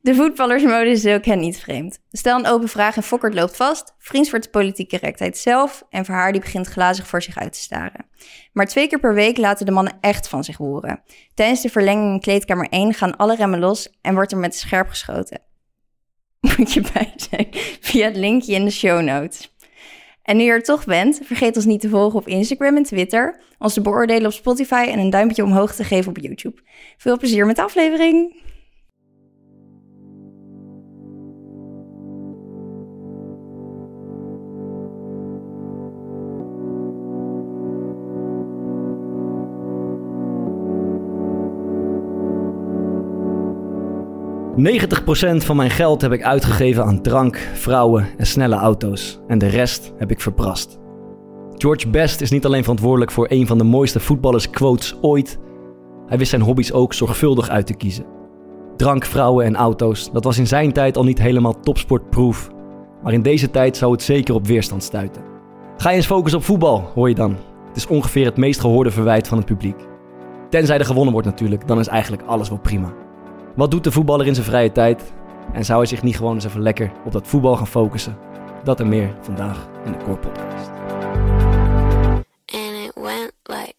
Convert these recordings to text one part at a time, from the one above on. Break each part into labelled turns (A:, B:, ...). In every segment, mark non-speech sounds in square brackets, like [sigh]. A: De voetballersmodus is ook hen niet vreemd. Stel een open vraag en Fokkert loopt vast. Vriends wordt de politieke correctheid zelf en Verhaar die begint glazig voor zich uit te staren. Maar twee keer per week laten de mannen echt van zich horen. Tijdens de verlenging in kleedkamer 1 gaan alle remmen los en wordt er met scherp geschoten. [laughs] Moet je bij zijn via het linkje in de show notes. En nu je er toch bent, vergeet ons niet te volgen op Instagram en Twitter, ons te beoordelen op Spotify en een duimpje omhoog te geven op YouTube. Veel plezier met de aflevering!
B: €90% van mijn geld heb ik uitgegeven aan drank, vrouwen en snelle auto's. En de rest heb ik verprast. George Best is niet alleen verantwoordelijk voor een van de mooiste voetballersquotes ooit. Hij wist zijn hobby's ook zorgvuldig uit te kiezen. Drank, vrouwen en auto's, dat was in zijn tijd al niet helemaal topsportproof. Maar in deze tijd zou het zeker op weerstand stuiten. Ga je eens focussen op voetbal, hoor je dan. Het is ongeveer het meest gehoorde verwijt van het publiek. Tenzij er gewonnen wordt natuurlijk, dan is eigenlijk alles wel prima. Wat doet de voetballer in zijn vrije tijd? En zou hij zich niet gewoon eens even lekker op dat voetbal gaan focussen? Dat en meer vandaag in de Core Podcast.
C: and it went like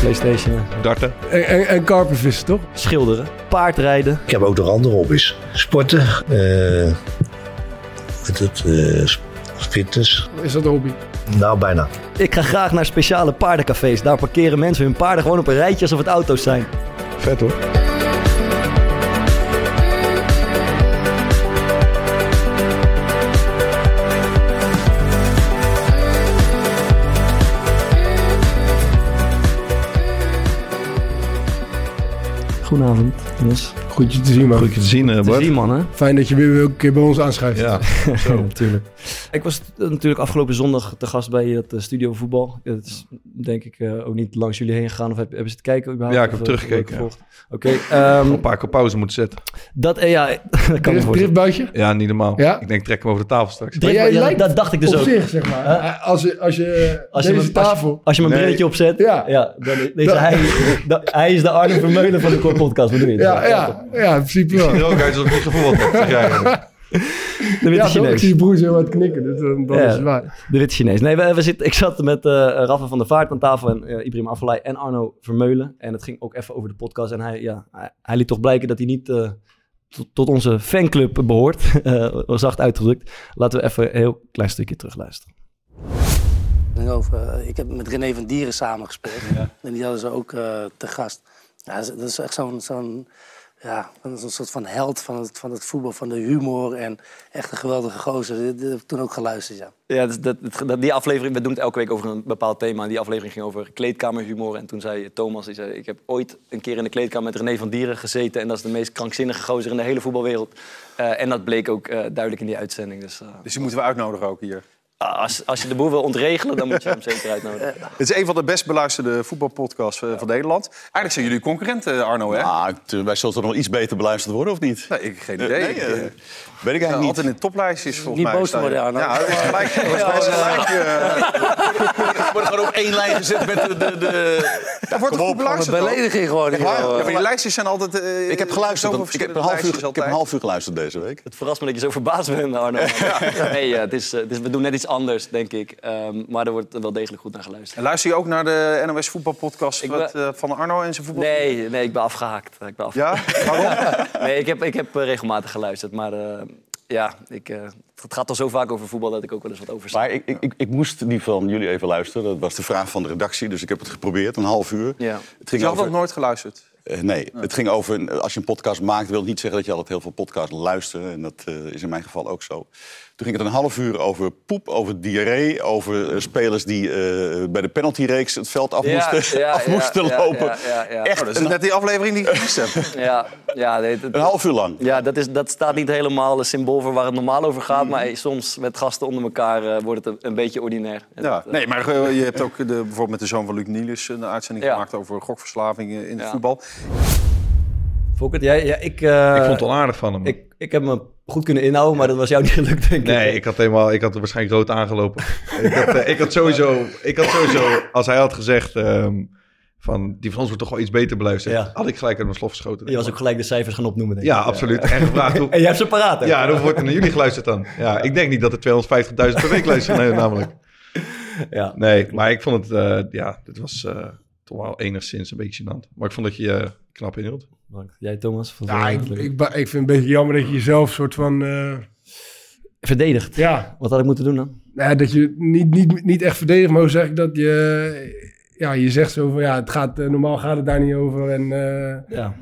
B: Playstation, eh,
D: Darten.
E: En, en, en karpenvissen, toch?
B: schilderen, paardrijden.
F: Ik heb ook nog andere hobby's. Sporten. eh, wat is het, eh, s- fitness.
E: Is dat een hobby?
F: Nou, bijna.
B: Ik ga graag naar speciale paardencafés. Daar parkeren mensen hun paarden gewoon op een rijtje alsof het auto's zijn.
E: Vet hoor.
B: Goedenavond, jongens.
E: Goed je te zien, man.
D: Goed je te zien, eh,
B: Te
D: Bart.
B: zien, mannen.
E: Fijn dat je weer een keer bij ons aanschuift. [laughs]
D: Ja,
B: Ja, natuurlijk. Ik was t- natuurlijk afgelopen zondag te gast bij het eh, studio voetbal. Het is denk ik eh, ook niet langs jullie heen gegaan. Of heb- hebben ze het kijken überhaupt?
D: Ja, ik heb
B: Of, eh,
D: teruggekeken,
B: gevolgd? Oké, ehm,
D: een paar keer pauze moeten zetten.
B: dat eh, ja, [laughs] dat kan me
E: Drift,
B: voorstellen.
E: driftbuitje?
D: Ja, niet normaal.
E: Ja?
D: Ik denk, trek hem over de tafel straks.
B: Drift-
E: jij
B: ja,
E: lijkt
B: dat dacht ik dus
E: Op
B: ook.
E: zich, zeg maar. Eh, Als, je- als je
B: Als je
E: deze
B: me-
E: tafel...
B: Als je mijn
D: Nee.
B: brilletje opzet, ja.
E: Ja.
B: dan is
E: Dat-
B: hij, da- hij is de Arne Vermeulen van de Core Podcast, bedoel je?
E: ja, ja, ja, in
B: [laughs]
E: principe wel.
D: [laughs] Het ziet er ook uit alsof ik gevoeld heb. zeg jij eigenlijk.
B: De witte
E: Ja, toch? ik
B: Chinees.
E: zie je broer zo aan het knikken, dus dan, dan
B: Ja.
E: is het waar.
B: De witte Chinees. Nee, we, we zitten, ik zat met eh Rafa van der Vaart aan tafel en eh, Ibrahim Afellay en Arno Vermeulen. En het ging ook even over de podcast. En hij, ja, hij, hij liet toch blijken dat hij niet eh, tot, tot onze fanclub behoort. [laughs] Eh, zacht uitgedrukt. Laten we even een heel klein stukje terugluisteren.
G: Ik, over, eh, ik heb met René van Dieren samengespeeld. En die hadden ze ook eh, te gast. Ja, dat is- dat is echt zo'n zo'n ja, zo'n soort van held van het, van het voetbal, van de humor. En echt een geweldige gozer. Dat dat heb ik toen ook geluisterd, ja.
H: Ja, dus dat, dat, dat- die aflevering, we doen het elke week over een bepaald thema. Die aflevering ging over kleedkamerhumor. En toen zei Thomas, die zei, ik heb ooit een keer in de kleedkamer met René van Dieren gezeten. En dat is de meest krankzinnige gozer in de hele voetbalwereld. Eh, en dat bleek ook eh, duidelijk in die uitzending. Dus eh,
I: [laughs] Dus die moeten we uitnodigen ook hier.
H: als, als je de boer wil ontregelen, dan
J: [laughs]
H: moet je hem zeker uitnodigen.
I: Het is een van de best beluisterde voetbalpodcasts eh, van Nederland. Eigenlijk zijn jullie concurrenten, Arno, hè?
J: Ah, t- wij zullen toch nog iets beter beluisterd worden, of niet?
I: Nee, ik geen idee.
J: Nee,
I: Ik,
J: eh,
I: eh,
J: weet ik eigenlijk
I: altijd
J: niet.
I: in de toplijstjes, volgens
G: Niet
I: mij.
G: boos
I: staan
G: worden,
I: jullie.
G: Arno.
I: Ja, dat is gelijk. dat is gelijk, eh,
J: We worden gewoon op één lijn gezet met de... de, de...
I: Daar wordt toch goed
G: Wat een
I: beluisterd, toch?
G: belediging gewoon.
I: Ja,
G: joh.
I: maar die lijstjes zijn altijd... eh,
J: Ik heb
I: zoveel
J: geluisterd. want Ik heb,
I: verschillende
J: een half uur, ik heb
I: lijstjes
J: een
I: altijd.
J: half uur geluisterd deze week.
H: Het verrast me dat je zo verbaasd bent, Arno. [laughs] Nee, ja, het is, eh, het is- we doen net iets anders, denk ik. Ehm, maar er wordt wel degelijk goed naar geluisterd.
I: En luister je ook naar de NOS voetbalpodcast
H: Ik
I: wat,
H: ben-
I: eh, van Arno en zijn voetbal?
H: Nee, nee, ik ben afgehaakt. Ik ben afgehaakt.
I: Ja? Waarom?
H: [laughs] Nee, ik heb, ik heb eh, regelmatig geluisterd. Maar eh, ja, ik, eh, het gaat al zo vaak over voetbal dat ik ook wel eens wat over
J: Maar ik, ik, ik, ik moest die van jullie even luisteren. Dat was de vraag van de redactie, dus ik heb het geprobeerd, een half uur.
H: Ja.
J: Het
I: Ik
J: ging
I: had dat
J: over...
I: nooit geluisterd.
J: eh, nee, het ging over... eh, een- Als je een podcast maakt, wil het niet zeggen dat je altijd heel veel podcasts luistert. En dat eh, is in mijn geval ook zo. Toen ging het een half uur over poep, over diarree, over eh, spelers die eh, bij de penaltyreeks het veld af
H: Ja,
J: moesten,
H: ja,
J: [laughs] af
H: ja,
J: moesten
H: ja,
J: lopen.
H: ja, ja, ja.
J: Echt,
H: Oh, dat is
J: een-
H: net die
K: aflevering die ik gemist
J: [laughs]
K: heb.
H: Ja, ja, nee, dat-
J: een half uur lang.
H: Ja, dat, is, dat staat niet helemaal een symbool voor waar het normaal over
J: Mhm.
H: gaat. Maar eh, soms met gasten onder elkaar eh, wordt het een, een beetje ordinair. En
K: Ja,
H: dat, eh,
K: nee, maar eh, je hebt ook de, bijvoorbeeld met de zoon van Luc Niels een uitzending
H: Ja.
K: gemaakt over gokverslaving eh, in het
H: Ja.
K: voetbal.
B: Volkert, jij, ja, ik... eh,
I: ik vond het onaardig van hem.
B: ik, ik heb me goed kunnen inhouden, maar dat was jou niet [laughs] gelukt, denk ik.
I: Nee, ik had, helemaal, ik had er waarschijnlijk rood aangelopen. ik, had, eh, ik, had sowieso, ik had sowieso, als hij had gezegd ehm, van die van ons wordt toch wel iets beter beluisterd,
B: Ja.
I: had ik gelijk uit mijn slof geschoten.
B: Je was ook gelijk de cijfers gaan opnoemen, denk ik.
I: Ja, absoluut. En gevraagd hoe...
B: En jij hebt ze paraat, hè?
I: Ja, dan wordt er naar jullie geluisterd dan. Ja, ik denk niet dat er 250.000 per week luisteren, nee, namelijk.
B: Ja.
I: Nee, maar ik vond het, eh, ja, dit was eh, toch wel enigszins een beetje gênant. Maar ik vond dat je je knap inhield.
B: Dank. Jij, Thomas? Vond
E: Ja,
B: het
E: ik,
B: wel leuk.
E: ik, ba- ik vind het een beetje jammer dat je jezelf soort van... eh,
B: Verdedigd.
E: ja,
B: Wat had ik moeten doen dan?
E: Nou, ja, dat je niet, niet, niet echt verdedigt, maar hoe zeg ik dat je... Ja, je zegt zo van, ja, het gaat, eh, normaal gaat het daar niet over. En
B: Ja.
E: eh, ja,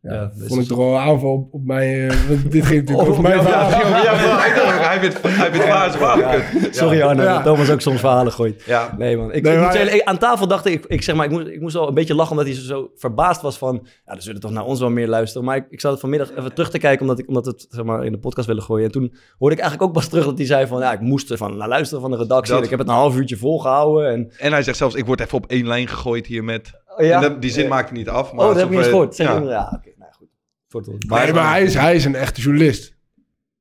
B: Ja, dus- Oh,
E: vond ik toch wel een aanval op, op mij. eh, want dit
B: [laughs]
E: ging natuurlijk over mijn verhaal.
I: Hij werd hij werd waar is waar. kut.
B: Sorry Arno,
E: Ja.
B: dat Thomas ook soms verhalen gooit.
I: Ja.
B: Nee man, ik,
E: Nee,
B: ik moet
E: maar-
B: zeggen, ik- aan tafel dacht ik, ik zeg maar, ik moest, ik moest al een beetje lachen omdat hij zo verbaasd was van, ja, er zullen toch naar ons wel meer luisteren. Maar ik, ik zat het vanmiddag even terug te kijken omdat, ik, omdat we het zeg maar, in de podcast willen gooien. En toen hoorde ik eigenlijk ook pas terug dat hij zei van, ja, ik moest er van naar luisteren van de redactie.
I: Dat-
B: En ik heb het een half uurtje volgehouden. En,
I: En hij zegt zelfs, ik word even op één lijn gegooid hier met...
B: ja?
I: En dat- die zin maakt hij niet af. Maar
B: oh, dat heb ik niet eens
I: alsof
B: gehoord.
I: hij-
B: Zeg
I: ja.
B: je- Ja, oké, nou goed. Het wordt wel-
E: Nee, maar hij is, hij is een echte journalist.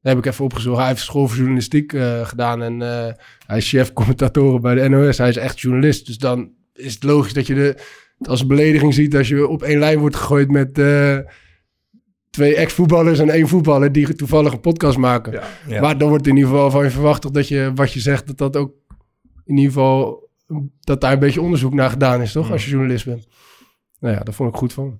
E: Dat heb ik even opgezocht. Hij heeft school voor journalistiek eh, gedaan. En eh, hij is chef commentatoren bij de NOS. Hij is echt journalist. Dus dan is het logisch dat je de, het als een belediging ziet... als je op één lijn wordt gegooid met... eh, Twee ex-voetballers en één voetballer die toevallig een podcast maken.
B: Ja.
E: Maar dan wordt in ieder geval van je verwacht dat je wat je zegt, dat dat ook in ieder geval dat daar een beetje onderzoek naar gedaan is,
B: Hmm.
E: toch? Als je journalist bent. Nou ja, daar vond ik goed van.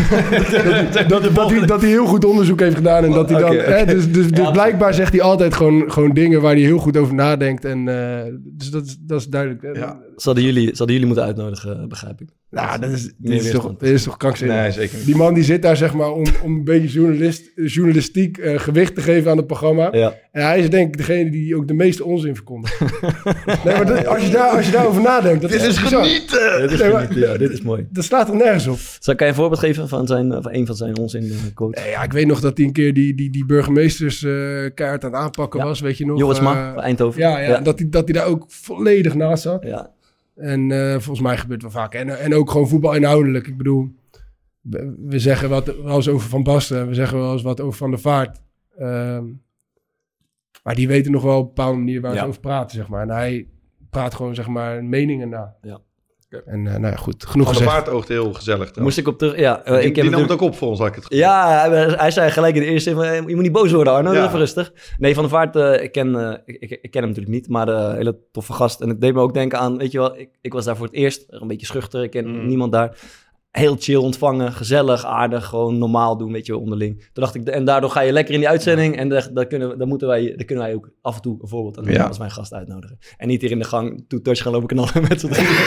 E: dat, hij- dat, dat, hij, dat hij heel goed onderzoek heeft gedaan en dat hij dan.
B: Oké, oké.
E: Hè, dus dus, dus
B: Ja.
E: blijkbaar zegt hij altijd gewoon, gewoon dingen waar hij heel goed over nadenkt. En, eh, dus dat, is- dat is duidelijk. Eh, En,
I: Ja.
B: Zouden jullie, zouden jullie moeten uitnodigen, begrijp ik.
E: Nou, dat is,
B: Meer
E: dit is, toch,
B: weerstand.
E: dit is toch krankzinnig.
I: Nee, zeker niet.
E: Die man die zit daar zeg maar om, om een beetje journalist, journalistiek eh, gewicht te geven aan het programma.
B: Ja.
E: En hij is denk ik degene die ook de meeste onzin
B: [laughs]
E: verkondigt. nee, maar dat- als, je daar, als je daarover nadenkt, dat is bizar.
B: Dit is,
E: Nee, maar-
B: genieten, ja, dit is mooi.
E: Dat slaat er nergens op.
B: Zal ik je een voorbeeld geven van, zijn, van een van zijn onzin eh, quotes?
E: Nee, ja, ik weet nog dat hij een keer die, die, die burgemeesterskaart kaart aan het aanpakken
B: Ja.
E: was, weet je nog.
B: Joris Ma,
E: eh,
B: van Eindhoven.
E: ja, ja, Dat, hij, dat hij daar ook volledig naast zat.
B: Ja.
E: En eh, volgens mij gebeurt het wel vaak. En, en ook gewoon voetbal inhoudelijk. Ik bedoel, we, we zeggen wat, wel eens over Van Basten. en We zeggen wel eens wat over Van der Vaart. Ehm, maar die weten nog wel op een bepaalde manier waar
B: Ja.
E: ze over praten, zeg maar. En hij praat gewoon, zeg maar, meningen na.
B: Ja. Oké.
E: En eh, nou ja, goed. Genoeg
I: Van de
E: gezegd.
I: Vaart oogt heel gezellig
B: Daar
I: trouwens.
B: moest ik op terug. Ja, eh,
I: Die,
B: ik
I: die
B: heb
I: nam het
B: natuurlijk-
I: ook op voor ons, had ik het gevoel.
B: Ja, hij- hij zei gelijk in de eerste zin van, eh, je moet niet boos worden Arno,
I: Ja.
B: even rustig. Nee, Van der Vaart, eh, ik, ken, eh, ik, ik, ik ken hem natuurlijk niet, maar eh, een hele toffe gast. En het deed me ook denken aan, weet je wel, ik, ik was daar voor het eerst, een beetje schuchter, ik ken
I: Mm.
B: niemand daar. Heel chill ontvangen, gezellig, aardig, gewoon normaal doen, weet je wel, onderling. Toen dacht ik, en daardoor ga je lekker in die uitzending en daar, daar, kunnen, we- daar, moeten wij, daar kunnen wij ook af en toe een voorbeeld aan doen
I: Ja.
B: als mijn gast uitnodigen. En niet hier in de gang toe touch gaan lopen knallen met z'n
I: [laughs]
B: drieën.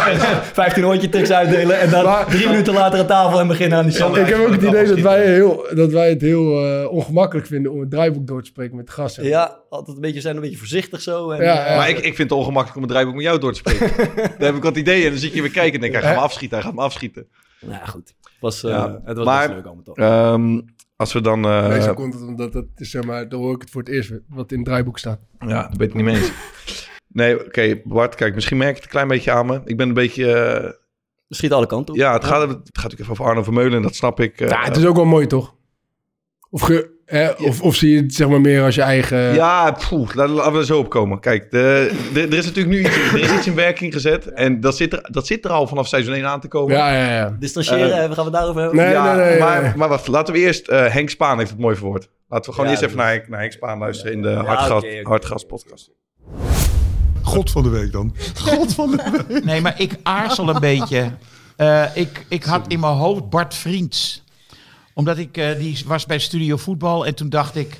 B: 15 hondje tricks uitdelen en dan
E: Maar-
B: drie minuten later aan tafel en beginnen aan die show.
E: ik heb ook het idee dat wij, heel, dat wij het heel eh, ongemakkelijk vinden om het draaiboek door te spreken met de gasten.
B: Ja, altijd een beetje zijn, een beetje voorzichtig zo. En,
E: Ja, ja.
I: Maar ik, ik vind het ongemakkelijk om het draaiboek met jou door
B: [laughs]
I: te spreken. Daar heb ik wat ideeën en dan zit je weer kijken en denk ik, hij gaat me afschieten, hij gaat me afschieten.
B: Nou ja, goed. Het was, eh,
I: Ja,
B: het was
I: maar-
B: best leuk allemaal toch.
I: Ehm, als we dan... eh,
E: Meestal komt het omdat dat is, zeg maar, dan hoor ik het voor het eerst wat in het draaiboek staat.
I: Ja, dat weet ik niet mee eens. [laughs] Nee, oké, Bart, kijk, misschien merk je het een klein beetje aan me. Ik ben een beetje... eh,
B: Schiet alle kanten op. Eh,
I: ja, het gaat, het gaat natuurlijk even over Arno Vermeulen, dat snap ik. eh,
E: ja, het is ook wel mooi, toch? Of, ge, hè, of, of zie je het zeg maar meer als je eigen...
I: Ja, poeh, laten we er zo op komen. Kijk, de, de- er is natuurlijk nu iets, er is iets in werking gezet. En dat zit, er, dat zit er al vanaf seizoen 1 aan te komen.
E: ja, ja. ja.
B: Distancieren,
I: Eh,
B: eh, we gaan het daarover hebben.
E: Nee,
I: Ja,
E: nee, nee.
I: Maar, maar wacht, laten we eerst... eh, Henk Spaan heeft het mooi verwoord. Laten we gewoon
B: Ja,
I: eerst even
B: dat
I: naar, Henk- naar Henk Spaan luisteren in de
B: Ja,
I: Hartgas,
B: oké, oké.
I: Hartgas podcast.
F: God van de week dan. God van de week. Nee, maar ik aarzel een beetje. Eh, ik, ik had in mijn hoofd Bart Vriends. Omdat ik, eh, die was bij Studio Voetbal en toen dacht ik...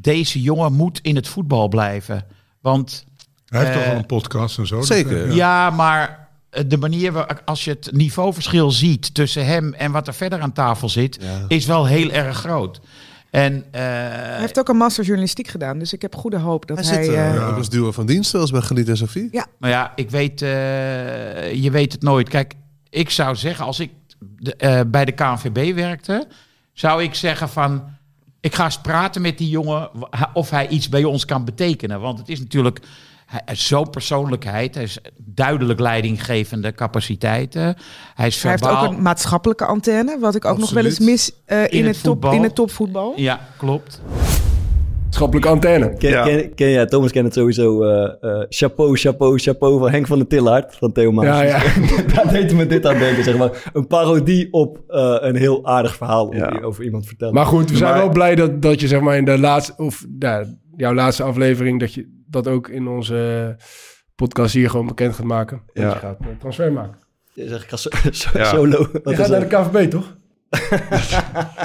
F: Deze jongen moet in het voetbal blijven. Want... Hij heeft toch al een podcast en zo.
K: Zeker.
F: Ja, maar eh, de manier, waar- als je het niveauverschil ziet tussen hem en wat er verder aan tafel zit, is wel heel erg groot. En
C: hij heeft ook een master journalistiek gedaan, dus ik heb goede hoop dat
L: Hij
C: hij...
L: zit eh,
C: eh,
L: ook als duo van dienst, zoals bij Galit en Sofie.
C: Ja.
F: Maar ja, ik weet, eh, je weet het nooit. Kijk, ik zou zeggen, als ik de- eh, bij de KNVB werkte, zou ik zeggen van, ik ga eens praten met die jongen w- of hij iets bij ons kan betekenen. Want het is natuurlijk hij hij is zo'n persoonlijkheid, hij is duidelijk leidinggevende capaciteiten. Hij is
C: hij heeft
F: verbaal.
C: ook een maatschappelijke antenne, wat ik ook nog wel eens
F: Absoluut.
C: mis eh, in,
F: In het
C: het top,
F: voetbal.
C: in het topvoetbal.
F: Ja, klopt.
E: Maatschappelijke antenne.
B: Ken, ken, ken- ja, Thomas kent het sowieso. eh, eh, chapeau, chapeau, chapeau van Henk van de Tillaert van Theo Maas.
E: Ja, ja.
B: [laughs] Daar deed me dit aan denken, zeg maar. Een parodie op eh, een heel aardig verhaal om die- over iemand vertellen.
E: Maar goed, we zijn
B: Maar-
E: wel blij dat, dat je zeg maar in de laatste, of nou, jouw laatste aflevering, dat je dat ook in onze podcast hier gewoon bekend gaat maken. Dat
I: Ja.
E: je gaat eh, transfer maken.
B: Je zegt, ik [laughs] ga so-
I: Ja.
B: solo.
E: Je gaat naar de KVB, toch?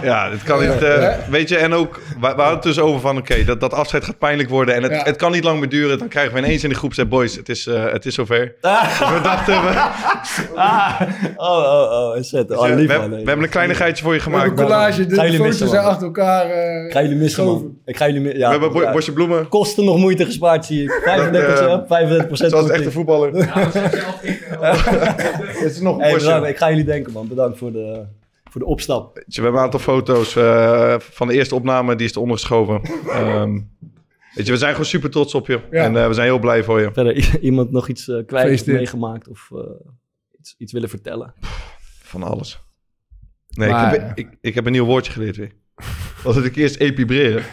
I: Ja, dat kan niet. eh, weet je, en ook, we, we hadden het dus over van, oké, dat, dat afscheid gaat pijnlijk worden. En het,
E: Ja.
I: het kan niet lang meer duren. Dan krijgen we ineens in de groep, boys, het is, eh, het is zover.
B: Ah.
I: Dus we dachten, we,
B: Oh, oh, oh, zet.
I: we,
B: Oh, lief,
I: we-
B: man.
I: we
B: Nee.
I: hebben een kleinigheidje voor je gemaakt.
E: een collage,
B: Ga
E: de
B: jullie
E: foto's
B: missen,
E: zijn
B: man.
E: achter elkaar. eh,
B: Ik ga jullie missen, man. Ik ga jullie mi- ja,
I: we hebben bo-
B: ja.
I: bosje bloemen.
B: Kosten nog moeite gespaard, zie ik. 35%, 35
I: Zoals een
B: [laughs]
I: echte voetballer. [laughs]
B: Het
I: is nog een
B: hey,
I: bosje.
B: bedankt. Ik ga jullie denken, man. Bedankt voor de, voor de opstap.
I: Weet je, We hebben een aantal foto's eh, van de eerste opname, die is eronder geschoven. Ehm, weet je, we zijn gewoon super trots op je.
B: Ja.
I: En eh, we zijn heel blij voor je.
B: Verder i- iemand nog iets eh, kwijt of
I: Gefeliciteerd.
B: meegemaakt of eh, iets, iets willen vertellen.
I: Van alles. Nee,
B: Maar-
I: ik, heb, ik, ik heb een nieuw woordje geleerd weer. [laughs] Was het ik eerst epibreren.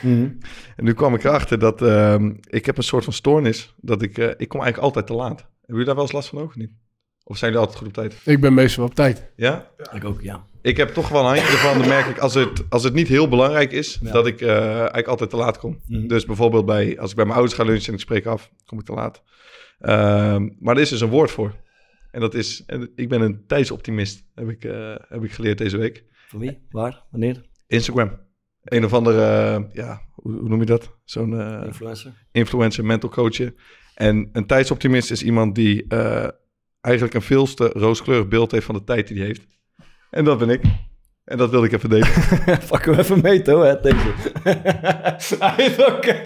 I: En nu kwam ik erachter dat ehm, ik heb een soort van stoornis. Dat ik, eh, ik kom eigenlijk altijd te laat. Hebben jullie daar wel eens last van ook of niet? Of zijn jullie altijd goed op tijd?
E: Ik ben meestal op tijd.
I: Ja?
B: Ik ook, ja.
I: Ik heb toch wel een handje ervan. Dan merk ik als het, als het niet heel belangrijk is, dat ik eh, eigenlijk altijd te laat kom. Dus bijvoorbeeld bij, als ik bij mijn ouders ga lunchen en ik spreek af, kom ik te laat. Ehm, maar er is dus een woord voor. En dat is, en ik ben een tijdsoptimist, heb ik, eh, heb ik geleerd deze week.
B: Van wie? Waar? Wanneer?
I: Instagram. Een of andere, eh, ja, hoe, hoe noem je dat? Zo'n eh,
B: Influencer.
I: Influencer, mental coachje. En een tijdsoptimist is iemand die eh, eigenlijk een veelste rooskleurig beeld heeft van de tijd die hij heeft. En dat ben ik. En dat wilde ik even delen.
B: [laughs] Pak hem even mee, toch? Hè, deze. [laughs] Hij heeft ook... [laughs]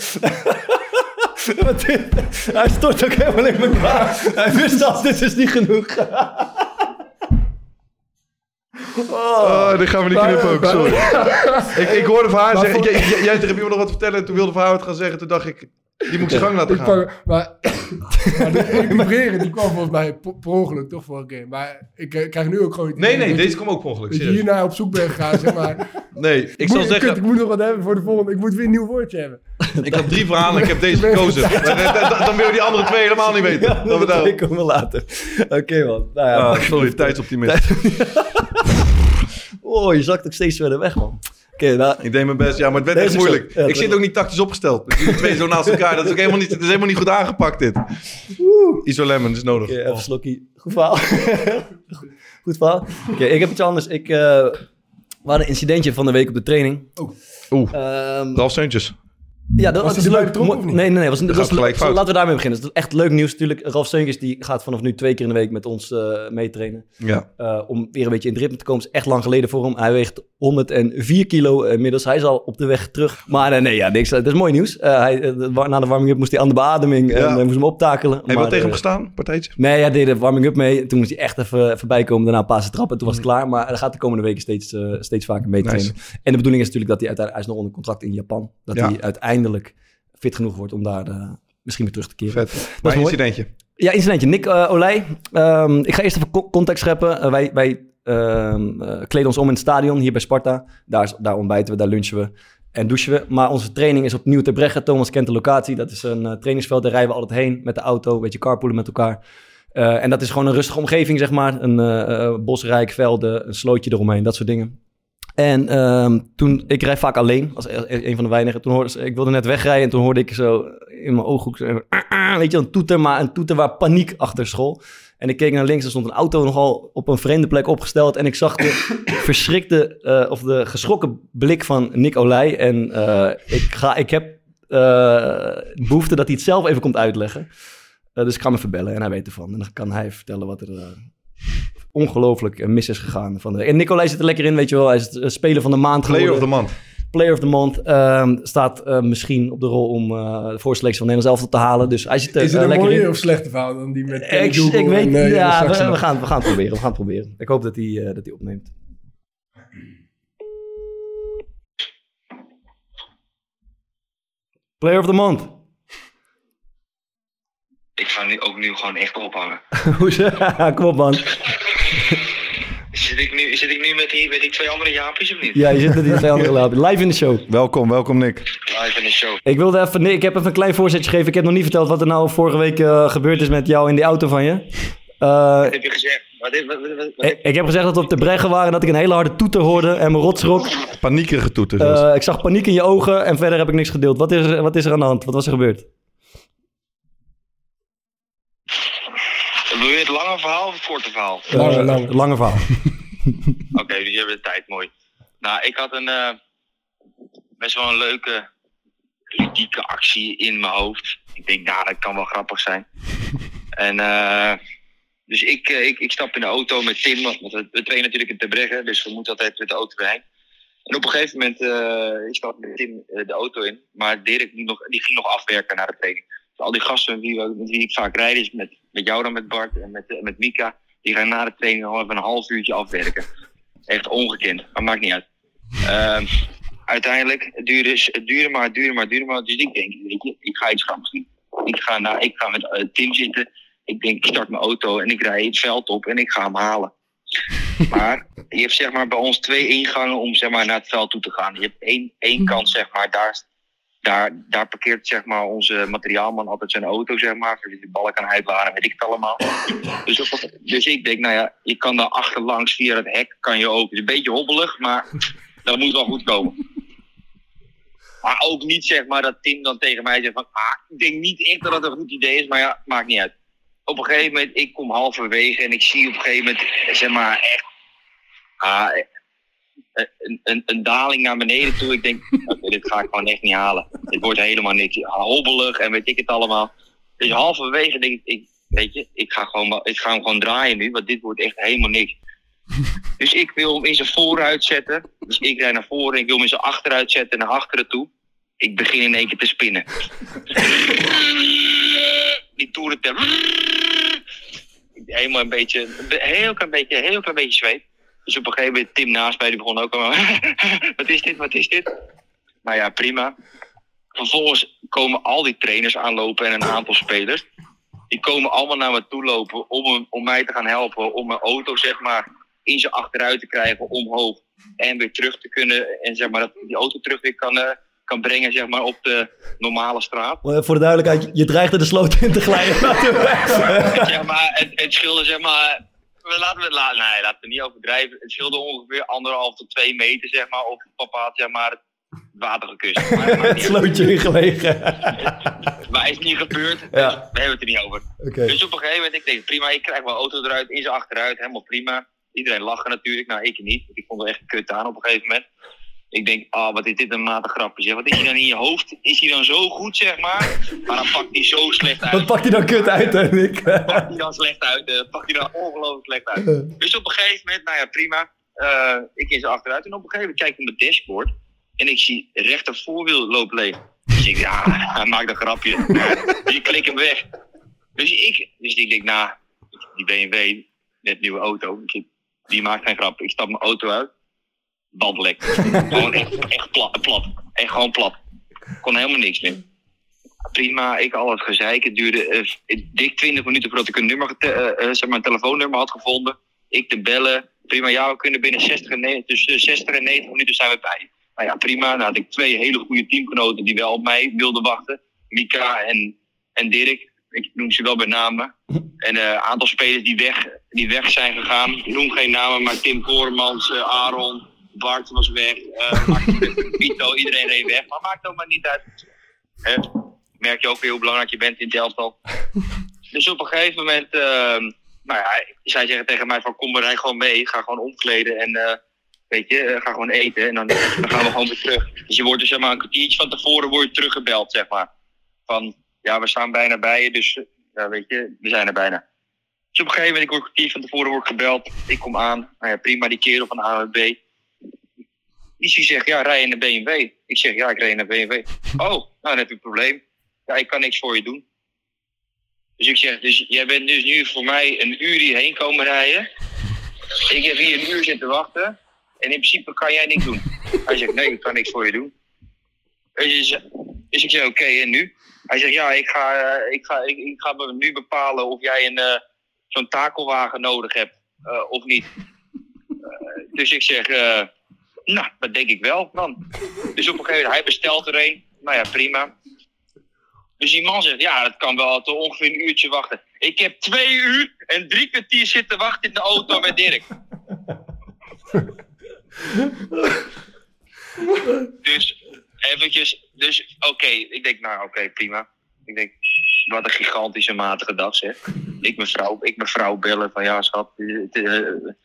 B: Wat dit- Hij stort ook helemaal in elkaar. Hij wist dat dit is niet genoeg.
I: Oh, dit gaan we niet knippen ook, sorry.
B: [laughs]
I: ik, ik hoorde van haar
E: Maar
I: zeggen,
E: voor-
I: jij, jij- jij tegen me nog wat vertellen. En toen wilde van haar het gaan zeggen. Toen dacht ik, die moet ik zijn gang laten
E: Ik
I: gaan.
E: pak- maar [coughs] maar die
I: [laughs]
E: recupereren, die kwam volgens mij po- per ongeluk toch voor een keer. Maar ik eh, krijg nu ook gewoon... het
I: Nee,
E: idee
I: nee,
E: dat
I: deze
E: je-
I: kwam ook per ongeluk,
E: Dat je
I: serieus.
E: hierna op zoek bent gegaan, zeg maar.
I: Nee, [laughs] ik
E: moet,
I: zal
E: kut,
I: zeggen,
E: ik moet nog wat hebben voor de volgende. Ik moet weer een nieuw woordje hebben.
I: ik had drie verhalen en ik heb
B: [laughs]
I: deze
E: Ik ben
I: gekozen. Dan- Dan dan wil je die andere twee helemaal niet weten.
B: Ja,
I: Dan we daar-
B: dat komen we later. Oké, man. Nou ja,
I: Ah,
B: man.
I: sorry, tijdsoptimist.
B: Oh, je zakt ook steeds verder weg, man. Oké, nou...
I: Ik deed mijn best, ja, maar het werd
B: Deze
I: echt moeilijk.
B: zo. Ja,
I: ik zit ook niet tactisch
B: [laughs]
I: opgesteld. Dus die twee zo naast elkaar, dat is, ook helemaal niet, dat is helemaal niet goed aangepakt dit. Isolemon is nodig.
B: Oké, eh, even slokkie. Goed verhaal. [laughs] Goed verhaal. Oké, ik heb iets anders. Ik, eh we hadden een incidentje van de week op de training.
I: Oeh,
B: Ehm,
I: Ralf Seuntjes.
B: ja, dat
I: Oh. Was
B: was, dus
I: hij erbij
B: leuk.
I: betrokken
B: Mo-
I: of niet?
B: Nee, nee, nee. Was,
I: Dat
B: dat
I: gaat
B: was,
I: gelijk
B: leuk.
I: fout.
B: laten we daarmee beginnen. Dat is echt leuk nieuws natuurlijk. Ralf Seunkes die gaat vanaf nu twee keer in de week met ons eh, meetrainen.
I: Ja.
B: Eh, om weer een beetje in het ritme te komen. is echt lang geleden voor hem. Hij weegt 104 kilo eh, inmiddels. Hij is al op de weg terug. Maar eh, nee, ja, niks. Dat is mooi nieuws. Eh, hij, eh, wa- na de warming-up moest hij aan de beademing. En eh, moest hem optakelen.
I: Heb je wel
B: Maar,
I: tegen hem
B: eh,
I: gestaan, partijtje?
B: Nee, hij deed de warming-up mee. Toen moest hij echt even voorbij komen. Daarna een paar trappen. Toen was het klaar. Maar eh, hij gaat de komende weken steeds, eh, steeds vaker mee
I: Mm. Nice.
B: trainen. En de bedoeling is natuurlijk dat hij uiteindelijk... Hij is nog onder contract in Japan. Dat
I: Ja.
B: hij uiteindelijk fit genoeg wordt om daar eh, misschien weer terug te keren.
I: Vet.
B: Dat is
I: Maar een
B: mooi.
I: incidentje.
B: Ja, incidentje. Nick eh, Olij. Ehm, ik ga eerst even co- context scheppen. Eh, wij wij ehm, eh, kleden ons om in het stadion hier bij Sparta. Daar, is- daar ontbijten we, daar lunchen we en douchen we. Maar onze training is opnieuw te breggen. Thomas kent de locatie. Dat is een eh, trainingsveld. Daar rijden we altijd heen met de auto. Een beetje carpoolen met elkaar. Eh, en dat is gewoon een rustige omgeving, zeg maar. Een eh, eh, bosrijk velden, een slootje eromheen, dat soort dingen. En ehm, toen, ik rijd vaak alleen, als e- een van de weinigen. Toen hoorde ze- ik wilde net wegrijden en toen hoorde ik zo in mijn ooghoek, zo, ah, ah, weet je, een toeter, maar een toeter waar paniek achter school. En ik keek naar links, er stond een auto nogal op een vreemde plek opgesteld. En ik zag de
I: [coughs]
B: verschrikte, eh, of de geschrokken blik van Nick Olij. En eh, ik, ga, ik heb eh, behoefte dat hij het zelf even komt uitleggen. Eh, dus ik ga hem even bellen en hij weet ervan. En dan kan hij vertellen wat er... eh, ongelooflijk eh, mis is gegaan. Van de... En Nicolai zit er lekker in, weet je wel. Hij is het eh, speler van de maand
I: Player
B: geworden.
I: of the month.
B: Player of the Month. ehm, staat eh, misschien op de rol om eh, de voorselectie van Nederland zelf te halen. Dus hij zit er
E: Is
B: eh,
E: het een
B: lekker
E: mooie
B: in.
E: of slechte verhaal dan die met
B: Ik,
E: Google
B: ik weet
E: en,
B: niet.
E: eh, Jonas
B: ja, we,
E: Saxena?
B: we gaan, we gaan het proberen. We gaan het proberen. Ik hoop dat hij, eh, dat hij opneemt. Player of the month. [laughs]
G: Ik ga nu ook nu gewoon echt ophangen.
B: Hoezo? [laughs] Kom op, man.
G: Zit ik nu, zit ik nu met, die, met die twee andere jaapjes of niet?
B: Ja, je zit met die twee andere lapen. Live in de show.
I: Welkom, welkom Nick.
G: Live in de show.
B: Ik wilde even, nee, ik heb even een klein voorzetje gegeven. Ik heb nog niet verteld wat er nou vorige week eh, gebeurd is met jou in die auto van je. Eh,
G: Wat heb je gezegd? Wat, heb- wat, wat, wat-
B: ik, ik heb gezegd dat we op de breggen waren, dat ik een hele harde toeter hoorde en mijn rotsrok.
I: Paniekerige toeter.
B: Eh,
I: zelfs.
B: ik zag paniek in je ogen en verder heb ik niks gedeeld. Wat is, er- wat is er aan de hand? Wat was er gebeurd?
G: wil je het lange verhaal of het korte verhaal?
B: Eh, Lange verhaal.
G: Oké, jullie hebben de tijd, mooi. Nou, ik had een eh, best wel een leuke ludieke actie in mijn hoofd. Ik denk, nou, dat kan wel grappig zijn. en eh, dus ik, eh, ik, ik stap in de auto met Tim, want we, we trainen natuurlijk in Terbregge, dus we moeten altijd met de auto bij. En op een gegeven moment, eh ik stap met Tim eh, de auto in, maar Dirk moet nog, die ging nog afwerken naar de training. Dus al die gasten met wie, we- met wie ik vaak rijd, is met, met jou dan, met Bart en met, eh, met Mika, die gaan na de training al even een half uurtje afwerken. Echt ongekend, maar maakt niet uit. Ehm, uiteindelijk, het duurde, het duurde maar, het duurde maar, het duurde maar. Dus ik denk, weet je, ik ga iets grappigs doen. Ik ga, naar, ik ga met eh, Tim zitten. Ik denk, ik start mijn auto en ik rij het veld op en ik ga hem halen. Maar je hebt zeg maar bij ons twee ingangen om zeg maar, naar het veld toe te gaan. Je hebt één, één kant, zeg maar, daar, daar, daar parkeert zeg maar, onze materiaalman altijd zijn auto, zeg maar. Zodat hij de ballen kan uitwaren, weet ik het allemaal. Dus, op- dus ik denk, nou ja, je kan daar achterlangs via het hek, kan je ook. Het is een beetje hobbelig, maar dat moet wel goed komen. Maar ook niet zeg maar dat Tim dan tegen mij zegt van, ah, ik denk niet echt dat het een goed idee is, maar ja, maakt niet uit. Op een gegeven moment, ik kom halverwege en ik zie op een gegeven moment, zeg maar, echt ah, eh, een, een, een daling naar beneden toe. Ik denk, oké, dit ga ik gewoon echt niet halen. Dit wordt helemaal niks hobbelig en weet ik het allemaal. Dus halverwege denk ik, ik weet je, ik ga, gewoon, maar- ik ga hem gewoon draaien nu, want dit wordt echt helemaal niks. Dus ik wil hem in zijn vooruit zetten. Dus ik rijd naar voren en ik wil hem in zijn achteruit zetten naar achteren toe. Ik begin in één keer te spinnen. [laughs] Die toeren te... Helemaal een beetje, een heel klein beetje, heel klein beetje zweet. Dus op een gegeven moment, Tim naast mij, die begon ook al... [laughs] wat is dit, wat is dit? Maar ja, prima. Vervolgens komen al die trainers aanlopen en een aantal spelers. Die komen allemaal naar me toe lopen om, hem- om mij te gaan helpen. Om mijn auto, zeg maar, in zijn achteruit te krijgen, omhoog. En weer terug te kunnen. En zeg maar, dat ik die auto terug weer kan, eh, kan brengen, zeg maar, op de normale straat.
B: Eh, Voor de duidelijkheid, je dreigde de sloot in te glijden. [laughs]
G: zeg maar, het, het scheelde zeg maar. We laten we, la, nee, laten we niet overdrijven. Het scheelde ongeveer anderhalf tot twee meter, zeg maar. Of papa had zeg maar, het water gekust.
B: [laughs]
G: Maar, maar,
B: het slootje ingelegen.
G: maar is niet gebeurd.
B: Ja.
G: We hebben het er niet over.
B: Oké.
G: Dus op een gegeven moment, ik denk prima, ik krijg mijn auto eruit, in zijn achteruit, helemaal prima. Iedereen lachen natuurlijk, nou ik niet. want Ik vond het echt kut aan op een gegeven moment. Ik denk, ah, wat is dit een matig grapje, zeg. Wat is hij dan in je hoofd? Is hij dan zo goed, zeg maar? Maar dan pakt hij zo slecht uit.
B: Wat pakt hij dan kut uit, hè, Nick?
G: [laughs] pakt hij dan slecht uit. eh, pakt hij dan ongelooflijk slecht uit. Dus op een gegeven moment, nou ja, prima. Eh, ik in zijn achteruit. En op een gegeven moment kijk ik op mijn dashboard. En ik zie rechter voorwiel loopt leeg. Dus ik ja, [laughs] hij maakt een grapje. Dus ik klik hem weg. Dus ik, dus ik denk, nou, die BMW, net nieuwe auto. Ik denk, Die maakt geen grap. Ik stap mijn auto uit. Band lek. [laughs] gewoon echt, echt plat, plat. Echt gewoon plat. Kon helemaal niks meer prima, ik al het gezeik. Het duurde eh, dik 20 minuten voordat ik een, nummer, gete- eh, eh, zeg maar een telefoonnummer had gevonden. Ik te bellen. Prima, ja, we kunnen binnen 60 en, ne- tussen 60 en 90 minuten zijn we bij. Nou ja, prima. Nou had ik twee hele goede teamgenoten die wel op mij wilden wachten. Mika en, en Dirk. Ik noem ze wel bij namen. En eh, een aantal spelers die weg, die weg zijn gegaan. Ik noem geen namen, maar Tim Koremans, eh, Aaron, Bart was weg. eh [laughs] Martin, Vito, iedereen reed weg. Maar maakt ook maar niet uit. Hè? merk je ook weer hoe belangrijk je bent in het elftal. dus op een gegeven moment, ehm, nou ja, zij zeggen tegen mij van kom maar rij gewoon mee, ga gewoon omkleden en eh, weet je, eh, ga gewoon eten en dan, dan gaan we gewoon weer terug. Dus je wordt dus zeg maar een kwartiertje van tevoren word je teruggebeld, zeg maar. Van ja, we staan bijna bij je, dus eh, ja, weet je, we zijn er bijna. Dus op een gegeven moment, ik word een kwartier van tevoren word ik gebeld. Ik kom aan. Nou ja, prima, die kerel van de AWB. Die zegt, ja, rij je naar BMW. Ik zeg, ja, ik rij naar BMW. Oh, nou, dan heb je een probleem. Ja, ik kan niks voor je doen. Dus ik zeg, dus jij bent dus nu voor mij een uur hierheen komen rijden. Ik heb hier een uur zitten wachten. En in principe kan jij niks doen. Hij zegt, nee, ik kan niks voor je doen. Dus, ik zeg- dus ik zeg, oké, en nu? Hij zegt, ja, ik ga, eh, ik, ga, ik, ik ga be- nu bepalen of jij een, eh, zo'n takelwagen nodig hebt eh, of niet. Eh, dus ik zeg, eh, nou, dat denk ik wel dan. Dus op een gegeven moment, hij bestelt er een. Nou ja, prima. Dus die man zegt, ja, dat kan wel tot ongeveer een uurtje wachten. Ik heb twee uur en drie kwartier zitten wachten in de auto met Dirk. dus eventjes, dus oké, ik denk, nou oké, prima. Ik denk, wat een gigantische matige dag zeg. Ik mijn vrouw, ik mijn vrouw bellen van ja schat, het, eh,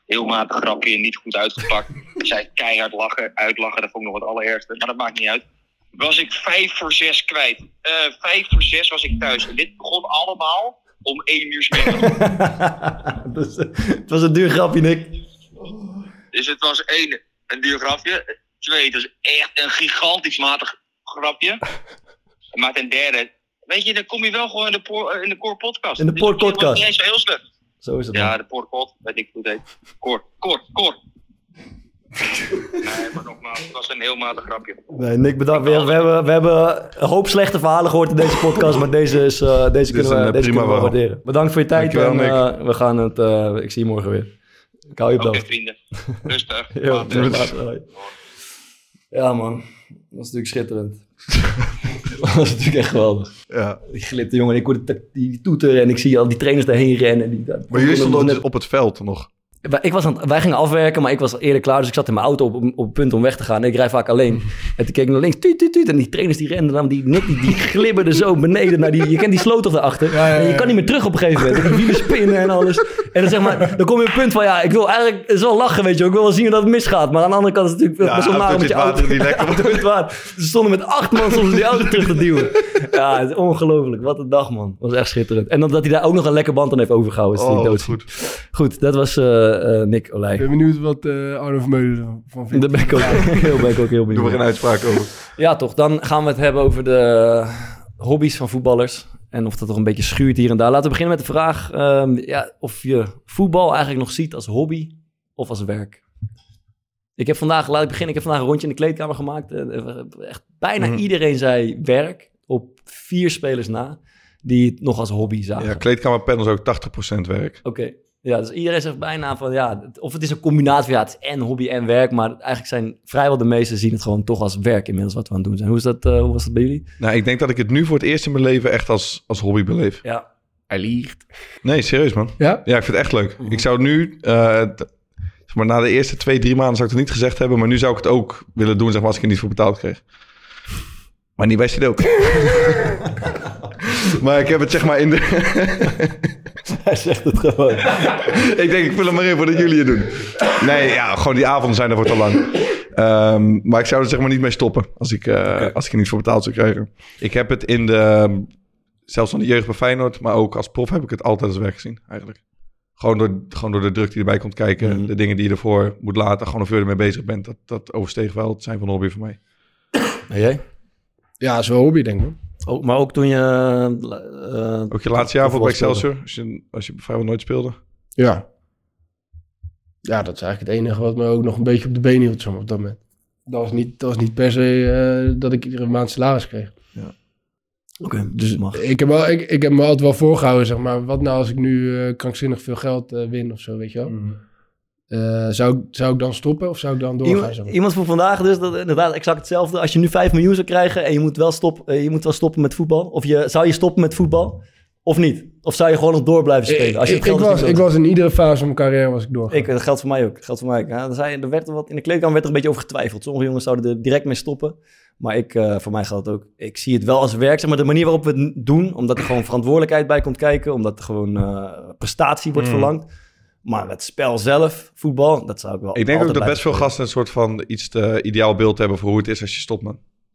G: heel matig grapje, niet goed uitgepakt. Zij keihard lachen, uitlachen, dat vond ik nog het allerergste, maar dat maakt niet uit. Was ik vijf voor zes kwijt. Eh, vijf voor zes was ik thuis. En dit begon allemaal om één uur 's middags.
B: [laughs] Dus, eh, het was een duur grapje, Nick.
G: [laughs] Dus het was één, een duur grapje. Twee, het was echt een gigantisch matig grapje. [laughs] Maar ten derde, weet je, dan kom je wel gewoon in de, poor- eh, in de Core Podcast.
B: In de Poor
G: op zich was het
B: Podcast.
G: niet eens zo heel slecht.
B: Zo is het.
G: Ja, de Poor Pod, weet ik hoe het heet. Core, Core, [laughs] Core. nee, maar nogmaals, het was een heel matig grapje.
B: Nee, Nick, bedankt. We, we, hebben, we hebben een hoop slechte verhalen gehoord in deze podcast, maar deze, is, eh, deze kunnen
I: een,
B: we,
I: eh,
B: deze
I: prima
B: kunnen we
I: verhaal.
B: waarderen. Bedankt voor je tijd en
I: Dankjewel,
B: eh, we gaan het, eh, ik zie je morgen weer. Ik hou je op de
G: Oké,
B: hoogte.
G: [laughs] vrienden. Rustig.
B: Jo,
G: Later.
B: later, hoi. Ja man, dat is natuurlijk
I: [laughs]
B: schitterend. dat is natuurlijk echt geweldig. Ja. Die glipte jongen, ik hoorde tak- die toeter en ik zie al die trainers daarheen rennen. Die,
I: Maar jullie stonden dus op het veld nog.
B: Wij- Ik was aan, het- wij gingen afwerken, maar ik was eerder klaar. Dus ik zat in mijn auto op, op het punt om weg te gaan. En ik rij vaak alleen. En toen keek ik naar links. Tuut, tuut, tuut. En die trainers die renden. dan, Die, Nick, die, die glibberden zo beneden. Naar die, je kent die sloot toch daarachter. En je kan niet meer terug op een gegeven moment. En die wielen spinnen en alles. En dan, zeg maar, dan kom je op het punt van... Ja, ik wil eigenlijk... Het is wel lachen, weet je wel. Ik wil wel zien hoe dat het misgaat. Maar aan de andere kant is het natuurlijk
I: Ja,
B: best wel naar om
I: autootje
B: met je
I: het
B: auto.
I: water niet
B: [laughs]
I: lekker.
B: Autootje het water. Ze stonden met acht man soms die auto terug te duwen. Ja, het is ongelooflijk. Wat een dag, man. Dat was echt schitterend. En dat hij daar ook nog een lekker band aan heeft overgehouden. Is
E: Oh,
B: natuurlijk
E: wat
B: doodziek. Goed, dat was eh, eh, Nick Olij.
E: Ik ben benieuwd wat eh, Arno Vermeulen ervan vindt.
B: Daar ben ik ook, [laughs] heel, ben ik ook heel benieuwd.
I: Doe er een uitspraak over.
B: Ja, toch. Dan gaan we het hebben over de hobby's van voetballers. En of dat toch een beetje schuurt hier en daar. Laten we beginnen met de vraag ehm, ja, of je voetbal eigenlijk nog ziet als hobby of als werk. Ik heb vandaag, laat ik beginnen, ik heb vandaag een rondje in de kleedkamer gemaakt. En, eh, Echt bijna
I: Mhm.
B: iedereen zei werk, op vier spelers na, die het nog als hobby zagen.
I: [laughs] Ja, kleedkamerpanel is ook 80% werk.
B: Oké. Ja, dus iedereen zegt bijna van ja, het- of het is een combinatie van ja, het is en hobby en werk, maar eigenlijk zijn vrijwel de meesten zien het gewoon toch als werk inmiddels wat we aan het doen zijn. Hoe, is dat, eh, hoe was dat bij jullie?
I: Nou, ik denk dat ik het nu voor het eerst in mijn leven echt als, als hobby beleef.
B: Ja.
I: Hij liegt. Nee, serieus man.
E: Ja?
I: Ja, ik vind het echt leuk.
B: Mhm.
I: Ik zou nu, eh, t- zeg maar na de eerste twee, drie maanden zou ik het niet gezegd hebben, maar nu zou ik het ook willen doen, zeg maar, als ik er niet voor betaald kreeg. Maar niet bij Sido.
B: [laughs]
I: maar ik heb het zeg maar in de...
B: [laughs] Hij zegt het gewoon.
I: [laughs] ik denk, ik vul hem maar in voordat jullie het doen. Nee, ja, gewoon die avonden zijn daarvoor te lang. Ehm, maar ik zou er zeg maar niet mee stoppen als ik, eh, als ik er niet voor betaald zou krijgen. Ik heb het in de, zelfs van de jeugd bij Feyenoord, maar ook als prof heb ik het altijd als werk gezien eigenlijk. Gewoon door, gewoon door de druk die erbij komt kijken,
B: Mhm.
I: de dingen die je ervoor moet laten, gewoon of je ermee bezig bent. Dat, dat oversteeg wel het zijn van een hobby voor mij.
B: En jij?
E: Ja, is wel een hobby, denk ik.
B: Ook, maar ook toen je... eh,
I: Ook je laatste jaar voor bij Excelsior, als je, als je vrijwel nooit speelde.
B: Oh,
E: Ja. Ja, dat is eigenlijk het enige wat me ook nog een beetje op de been hield zeg maar, op dat moment. Dat was niet, dat was niet per se eh, dat ik iedere maand salaris kreeg.
B: Oké, dus het mag.
E: Ik heb, wel, ik, ik heb me altijd wel voorgehouden, zeg maar. Wat nou als ik nu eh, krankzinnig veel geld eh, win of zo, weet je wel? Eh, zou, ik- zou ik dan stoppen of zou ik dan doorgaan? zeg
B: Iemand,
E: maar?
B: iemand voor vandaag dus, dat inderdaad exact hetzelfde. Als je nu 5 miljoen zou krijgen en je moet wel, stop, eh, je moet wel stoppen met voetbal. Of je, zou je stoppen met voetbal? Of niet? Of zou je gewoon nog door blijven spelen? Als je
E: ik,
B: het
E: ik,
B: geld
E: was,
B: natuurlijk
E: ik was in iedere fase van mijn carrière was ik door.
B: Ik, dat geldt voor mij ook. Dat geldt voor mij ook. Ja, er zei, er werd er wat, in de kleedkamer werd er een beetje over getwijfeld. Sommige jongens zouden er direct mee stoppen. Maar ik, eh, voor mij geldt het ook. Ik zie het wel als werk. Zeg maar de manier waarop we het n- doen. Omdat er gewoon verantwoordelijkheid bij komt kijken. Omdat er gewoon eh, prestatie wordt
I: Mm.
B: verlangd. Maar het spel zelf, voetbal, dat zou ik wel
I: Ik denk ook
B: altijd
I: dat best veel
B: blijven
I: gasten een soort van iets te ideaal beeld hebben voor hoe het is als je stopt, man.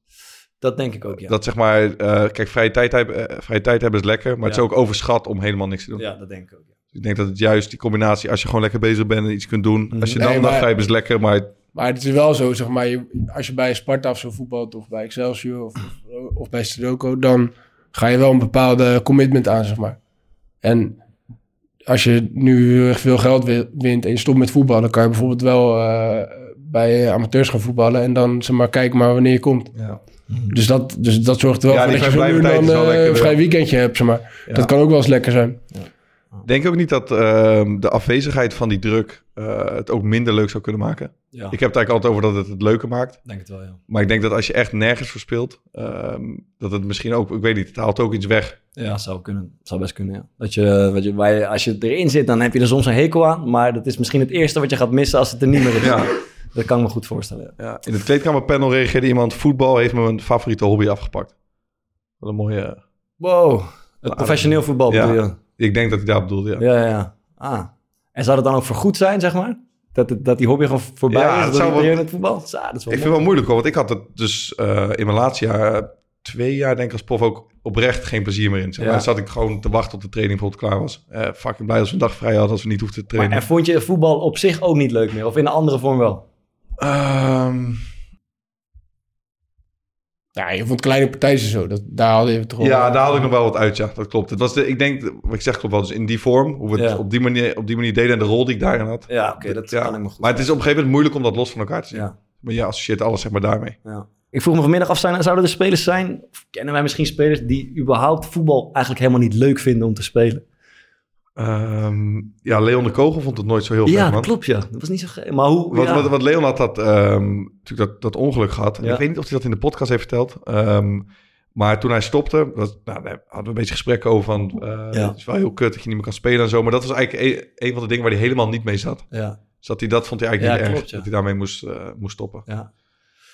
B: spelen. Dat denk ik ook, ja.
I: Dat zeg maar, eh, kijk, vrije tijd, heb- eh, vrije tijd hebben is lekker, maar het
B: Ja.
I: is ook overschat om helemaal niks te doen. Dus
B: Ja, dat denk ik ook. Mhm.
I: Ik denk dat het juist die combinatie, als je gewoon lekker bezig bent en iets kunt doen, als je dan
E: Nee,
I: nog
E: maar-
I: vrij bent, is lekker, maar
E: Maar het is wel zo, zeg maar, je- als je bij Sparta of zo voetbalt, of bij Excelsior of, of, of bij Sudoku, dan ga je wel een bepaalde commitment aan, zeg maar. En als je nu heel erg veel geld wi- wint en je stopt met voetballen, kan je bijvoorbeeld wel eh, bij amateurs gaan voetballen en dan zeg maar kijken maar wanneer je komt. Dus, dat, dus dat zorgt er wel
I: Ja,
E: voor
I: die
E: dat je zo nu en
I: vrijblijvendheid
E: dan
I: is wel
E: eh,
I: lekker,
E: een
I: ja.
E: vrij weekendje hebt, zeg maar.
I: Ja.
E: Dat kan ook wel eens lekker zijn.
I: Denk je ook niet dat ehm, de afwezigheid van die druk eh, het ook minder leuk zou kunnen maken?
B: Ja.
I: Ik heb het eigenlijk altijd over dat het het leuker maakt.
B: Denk het wel, ja.
I: Maar ik denk dat als je echt nergens voor speelt, ehm, dat het misschien ook, ik weet niet, het haalt ook iets weg.
B: Ja, zou kunnen. Zou best kunnen, ja. Dat je, wat je, waar je, als je erin zit, dan heb je er soms een hekel aan. Maar dat is misschien het eerste wat je gaat missen als het er niet meer is.
I: Ja.
B: Dat kan ik me goed voorstellen. ja.
I: Ja. In het kleedkamerpanel reageerde iemand, voetbal heeft me mijn favoriete hobby afgepakt. Wat een mooie... eh,
B: Wow, het
I: aardige-
B: professioneel voetbal
I: Ah, ja.
B: bedoel je?
I: Ik denk dat hij daar bedoelde, ja.
B: Ja, ja, ja. Ah. En zou dat dan ook voorgoed zijn, zeg maar? Dat, het- dat die hobby gewoon voorbij
I: Ja,
B: is?
I: het
B: Dat
I: zou
B: iedereen
I: wel-
B: het voetbal? Ja, dat is wel
I: ik vind het wel moeilijk hoor, want ik had het dus eh, in mijn laatste jaar, eh, twee jaar denk ik als prof ook oprecht geen plezier meer in. Zeg maar.
B: Ja.
I: Dan zat ik gewoon te wachten tot de training bijvoorbeeld klaar was. Eh, fucking blij als we een dag vrij hadden, als we niet hoefden te
B: Maar,
I: trainen.
B: en vond je voetbal op zich ook niet leuk meer? Of in een andere vorm wel?
I: Ehm,
E: Ja, je vond kleine partijen zo, dat, daar hadden we het toch wel-
I: ja, daar had ik nog wel wat uit, ja. Dat klopt. Het was de, ik denk, wat ik zeg klopt wel, dus in die vorm, hoe we het
B: Ja.
I: op, die manier, op die manier deden en de rol die ik daarin had.
B: Ja, oké, dat kan ik me goed
I: Maar het is op een gegeven moment moeilijk om dat los van elkaar te zien.
B: Ja.
I: Maar je associeert alles zeg maar daarmee.
B: Ja. Ik vroeg me vanmiddag af, zijn, zouden er spelers zijn... of kennen wij misschien spelers die überhaupt voetbal eigenlijk helemaal niet leuk vinden om te spelen?
I: Ehm, ja, Leon de Kogel vond het nooit zo heel
B: ja,
I: gek, man.
B: dat klopt, ja. Dat was niet zo gek. Maar hoe...
I: Want,
B: ja.
I: want, want Leon had dat, ehm, natuurlijk dat, dat ongeluk gehad. En
B: Ja.
I: Ik weet niet of hij dat in de podcast heeft verteld. Ehm, maar toen hij stopte, was, nou, daar hadden we een beetje gesprekken over van... eh,
B: Ja.
I: Het is wel heel kut dat je niet meer kan spelen en zo. Maar dat was eigenlijk een, een van de dingen waar hij helemaal niet mee zat.
B: Ja.
I: Dus dat, hij, dat vond hij eigenlijk
B: Ja,
I: niet
B: klopt,
I: erg,
B: ja.
I: dat hij daarmee moest, eh, moest stoppen.
B: Ja.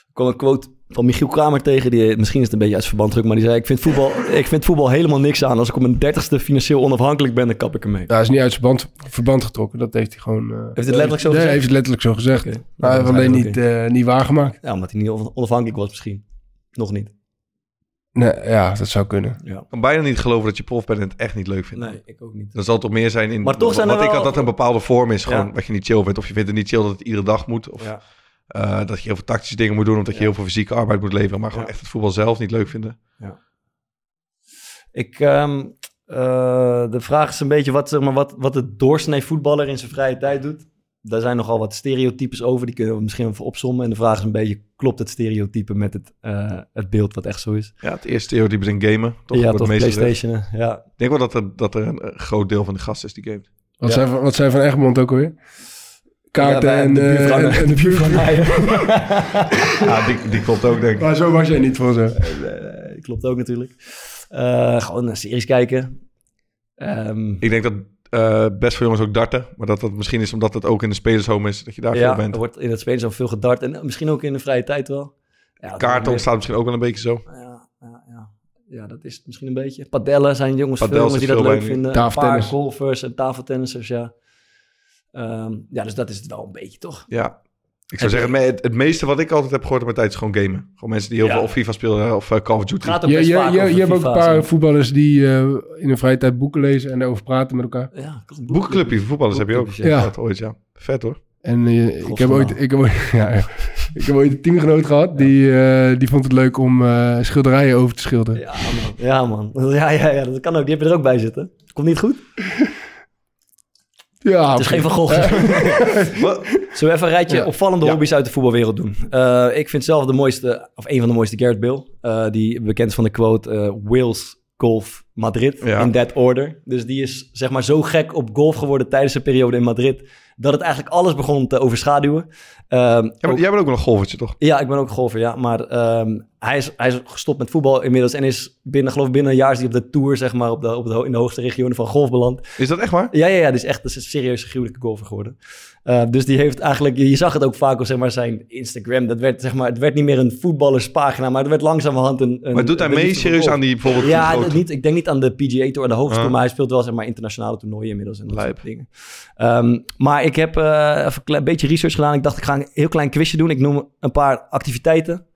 B: Ik kwam een quote van Michiel Kramer tegen. Die, misschien is het een beetje uit verband druk, maar die zei... Ik vind, voetbal, [laughs] ik vind voetbal helemaal niks aan. Als ik op mijn dertigste financieel onafhankelijk ben, dan kap ik ermee.
E: Ja, hij is niet uit zijn band, verband getrokken. Dat heeft hij gewoon... eh,
B: Heeft het letterlijk zo
E: nee,
B: gezegd?
E: heeft het letterlijk zo gezegd.
B: Oké. Nou,
E: Maar hij heeft
B: Ja,
E: alleen
B: oké.
E: niet, eh, niet waargemaakt.
B: Ja, omdat hij niet on- onafhankelijk was misschien. Nog niet.
E: Nee, ja, dat zou kunnen.
B: Ja.
I: Ik kan bijna niet geloven dat je prof bent en het echt niet leuk vindt.
B: Nee, ik ook niet.
I: Dan zal het toch meer zijn in...
B: Maar toch zijn
I: wat
B: er
I: ik
B: wel-
I: had, dat een bepaalde vorm is.
B: Ja.
I: Gewoon wat je niet chill vindt. Of je vindt het niet chill dat het iedere dag moet. Of
B: Ja.
I: eh, dat je heel veel tactische dingen moet doen. Omdat je heel veel fysieke arbeid moet leveren. Maar gewoon echt het voetbal zelf niet leuk vinden.
B: Ik, ehm, eh, de vraag is een beetje wat, zeg maar, wat, wat de doorsnee voetballer in zijn vrije tijd doet. Daar zijn nogal wat stereotypes over, die kunnen we misschien even opzommen. En de vraag is een beetje, klopt het stereotype met het, eh, het beeld wat echt zo is?
I: Ja, het eerste stereotype is in gamen. Toch
B: Ja,
I: Wordt
B: toch,
I: het meest
B: PlayStation,
I: gezegd.
B: hè? Ja.
I: Ik denk wel dat er, dat er een eh, groot deel van de gast is die gamet.
E: Wat,
I: Ja.
E: zijn, van- wat zijn van Egmond ook alweer? Kaarten
I: Ja, wij-
E: en,
I: de
E: eh,
I: buurvrouw-
E: en,
B: [laughs]
E: en de buurvrouw. [laughs]
I: ja, die, die klopt ook, denk ik.
E: Maar zo was jij niet voor zo.
B: Eh, klopt ook natuurlijk. Eh, gewoon naar series kijken. Ehm,
I: Ik denk dat eh, best veel jongens ook darten. Maar dat dat misschien is omdat het ook in de spelershome is. Dat je daar
B: ja,
I: veel bent.
B: er wordt in het spelen zo veel gedart. En eh, misschien ook in de vrije tijd wel. Ja, dat
I: Kaarten
B: meer-
I: ontstaat misschien ook wel een beetje zo.
B: Ja, ja, ja. ja, dat is het misschien een beetje. Padellen zijn jongens, veel
I: Padel
B: jongens
I: is
B: die dat
I: veel
B: leuk
I: bij nu.
B: vinden.
I: Tafeltennis.
B: Paar golfers en tafeltennissers, ja. Ehm, ja, dus dat is het wel een beetje, toch?
I: Ja. Ik zou zeggen, het, het meeste wat ik altijd heb gehoord op mijn tijd is gewoon gamen. Gewoon mensen die heel
B: Ja.
I: veel of FIFA spelen of eh, Call of Duty.
B: Gaat ook
E: Je,
B: best
E: je,
B: vaak
E: je,
B: over
E: je hebt ook een
B: FIFA
E: paar
B: zijn.
E: voetballers die eh, in hun vrije tijd boeken lezen en daarover praten met elkaar.
B: Ja,
I: Boekclubje voor voetballers heb je ook.
E: Boekclubjes, ja.
I: Ja. Dat ooit, ja. Vet hoor.
E: En eh, ik, heb
I: Godverdomme.
E: ooit, ik, heb ooit, [laughs] ja, ja. ik heb ooit een teamgenoot gehad die, eh, die vond het leuk om eh, schilderijen over te schilderen.
B: Ja, man. Ja, man. Ja, ja, ja, dat kan ook. Die heb je er ook bij zitten. Komt niet goed?
E: Ja,
B: Het is geen Van Gogh. Zullen we even een rijtje
E: Eh. Ja.
B: opvallende hobby's uit de voetbalwereld doen? Eh, ik vind zelf de mooiste, of een van de mooiste, Garrett Bill. Eh, die bekend is van de quote eh, Wales, golf, Madrid.
I: Ja.
B: In that order. Dus die is zeg maar zo gek op golf geworden tijdens zijn periode in Madrid... dat het eigenlijk alles begon te overschaduwen. Ehm,
I: Jij bent, jij bent ook wel een golfertje toch?
B: ja, ik ben ook golfer, ja. Maar ehm, hij, is, hij is gestopt met voetbal inmiddels en is binnen, geloof ik, binnen een jaar is hij op de tour, zeg maar, op de, op de, ho- in de hoogste regionen van golf beland.
I: Is dat echt waar?
B: Ja, ja, ja. Dus echt, dat is een serieuze gruwelijke golfer geworden. Eh, dus die heeft eigenlijk, je je zag het ook vaak op zeg maar, zijn Instagram. Dat werd, zeg maar, het werd niet meer een voetballerspagina, maar het werd langzamerhand een. een
I: Maar doet hij
B: een
I: mee
B: liefde voor
I: serieus
B: golf.
I: aan die bijvoorbeeld die
B: Ja,
I: grote-
B: dat niet, ik denk niet aan de PGA Tour, aan de hoogste
I: Ah.
B: tour, maar hij speelt wel zeg maar, internationale toernooien inmiddels en dat soort dingen. Ehm, maar ik heb eh, even een klein beetje research gedaan. Ik dacht, ik ga een heel klein quizje doen. Ik noem een paar activiteiten.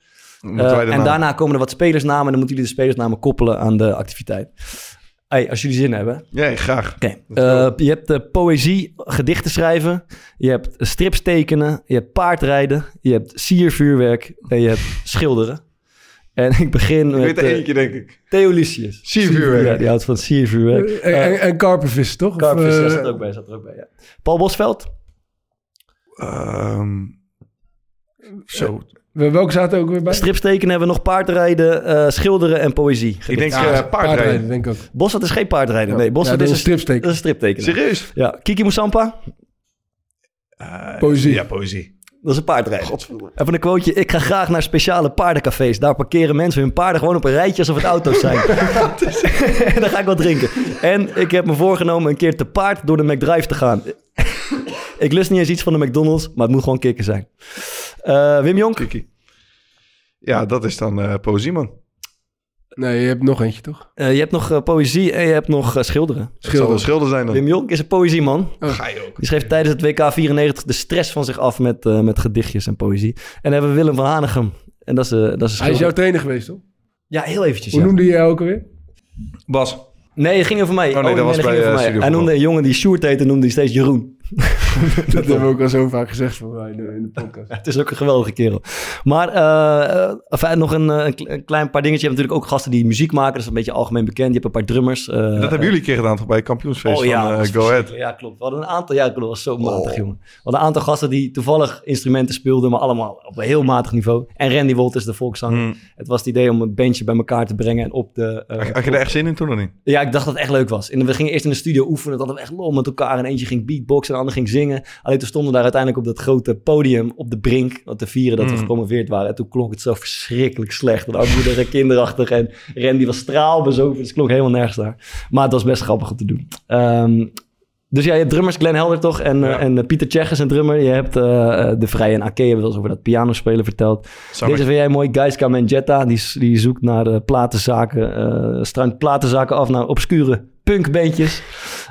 I: Moeten
B: Eh,
I: wij de
B: en
I: namen?
B: daarna komen er wat spelersnamen. En dan moeten jullie de spelersnamen koppelen aan de activiteit. Hey, als jullie zin hebben.
I: Ja, graag.
B: Oké. Eh, je hebt eh, poëzie, gedichten schrijven. Je hebt strips tekenen. Je hebt paardrijden. Je hebt siervuurwerk. En je hebt schilderen. En ik begin
I: Ik
B: met...
I: weet er
B: eh,
I: eentje, denk ik.
B: Theo Lucius.
I: Siervuurwerk.
B: Ja, die houdt van siervuurwerk.
E: En, en, en karpenvissen, toch? Of,
B: Karpenvissen,
E: eh,
B: ja, zat er ook bij, zat er ook bij, ja. Paul Bosveld?
I: Ehm, zo.
E: we- welke zaten er ook weer bij?
B: Strips tekenen hebben we nog paardrijden, eh, schilderen en poëzie.
E: Ik denk,
B: Gedichten.
E: eh, paardrijden. Paardrijden, denk ik ook.
B: Bossert is geen paardrijden. Nee,
E: Ja, dus-
B: Bossert
E: dat
B: is
E: is
B: een
E: een stripteken-
B: Dat is een striptekenaar.
I: Serieus?
B: Ja. Kiki Moussampa?
E: Poëzie.
I: Ja, poëzie.
B: Dat is een paardrijden. Even een quoteje. Ik ga graag naar speciale paardencafés. Daar parkeren mensen hun paarden gewoon op een rijtje alsof het auto's zijn.
E: [laughs]
B: [laughs] en dan ga ik wat drinken. En ik heb me voorgenomen een keer te paard door de McDrive te gaan. [laughs] ik lust niet eens iets van de McDonald's, maar het moet gewoon kikken zijn. Eh, Wim Jonk?
I: Ja, dat is dan eh poëzie, man.
E: Nee, je hebt nog eentje, toch?
B: Eh, je hebt nog eh, poëzie en je hebt nog eh, schilderen.
I: Het zal wel schilder zijn dan.
B: Wim Jonk is een poëzieman.
I: Ga je ook.
B: Die schreef tijdens het WK 94 de stress van zich af met, eh, met gedichtjes en poëzie. En dan hebben we Willem van Hanegem. En dat is, eh, dat is een
E: Hij is
B: schilder.
E: jouw trainer geweest, toch?
B: Ja, heel eventjes.
E: Hoe
B: ja.
E: noemde je jou ook alweer?
I: Bas.
B: Nee, het ging over mij.
I: nee, dat was
B: ging
I: bij,
B: over
I: eh,
B: mij.
I: Studio
B: Hij noemde een jongen die Sjoerd heette, noemde hij steeds
I: [laughs]
B: Jeroen.
E: [laughs] Dat hebben we ook al zo vaak gezegd voor mij in de, in de podcast.
B: Het is ook een geweldige kerel. Maar eh, eh, enfin, nog een, eh, een kle- een klein paar dingetjes. Je hebt natuurlijk ook gasten die muziek maken. Dat is een beetje algemeen bekend. Je hebt een paar drummers. eh,
I: dat hebben jullie een keer gedaan, toch? Bij het kampioensfeest
B: Oh ja,
I: van eh,
B: was
I: Go Ahead. Oh.
B: verschrikkelijk. Ja, klopt. We hadden een aantal, ja, klopt, dat was zo matig, jongen. We hadden een aantal gasten die toevallig instrumenten speelden, maar allemaal op een heel matig niveau. En Randy Wolt is de volkszanger.
I: Hmm.
B: Het was het idee om een bandje bij elkaar te brengen en op de...
I: [laughs]
B: eh,
I: Had je
B: op-
I: er echt zin in toen of niet?
B: Ja, ik dacht dat het echt leuk was. En we gingen eerst in de studio oefenen, dat hadden we echt lol met elkaar. En eentje ging beatboxen en de ander ging zingen. Alleen toen stonden we daar uiteindelijk op dat grote podium op de brink, wat te vieren dat
I: Mm.
B: we gepromoveerd waren. En toen klonk het zo verschrikkelijk slecht. En moeder en kinderachtig. En Randy was straalbezopen, dus het klonk helemaal nergens daar. Maar het was best grappig om te doen. Ehm, dus ja, je hebt drummers Glenn Helder toch en, eh, en eh, Pieter Tsjech is een drummer. Je hebt eh, eh, De Vrije en Ake, hebben we wel eens over dat pianospelen verteld.
I: Samen-
B: Deze vind jij mooi, Gaiska Mangetta. Die, s- die zoekt naar eh, platenzaken, eh struint platenzaken af naar obscure punkbandjes.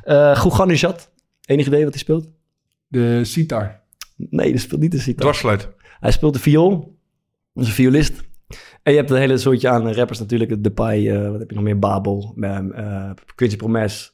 B: Eh Gouganujad, enig idee wat hij speelt?
E: De sitar.
B: Nee, die speelt niet de sitar.
I: Dwarsfluit.
B: Hij speelt de viool. Dat is een violist. En je hebt een hele soortje aan eh, rappers natuurlijk. Depay, eh wat heb je nog meer? Babel, eh, eh, Quincy Promes,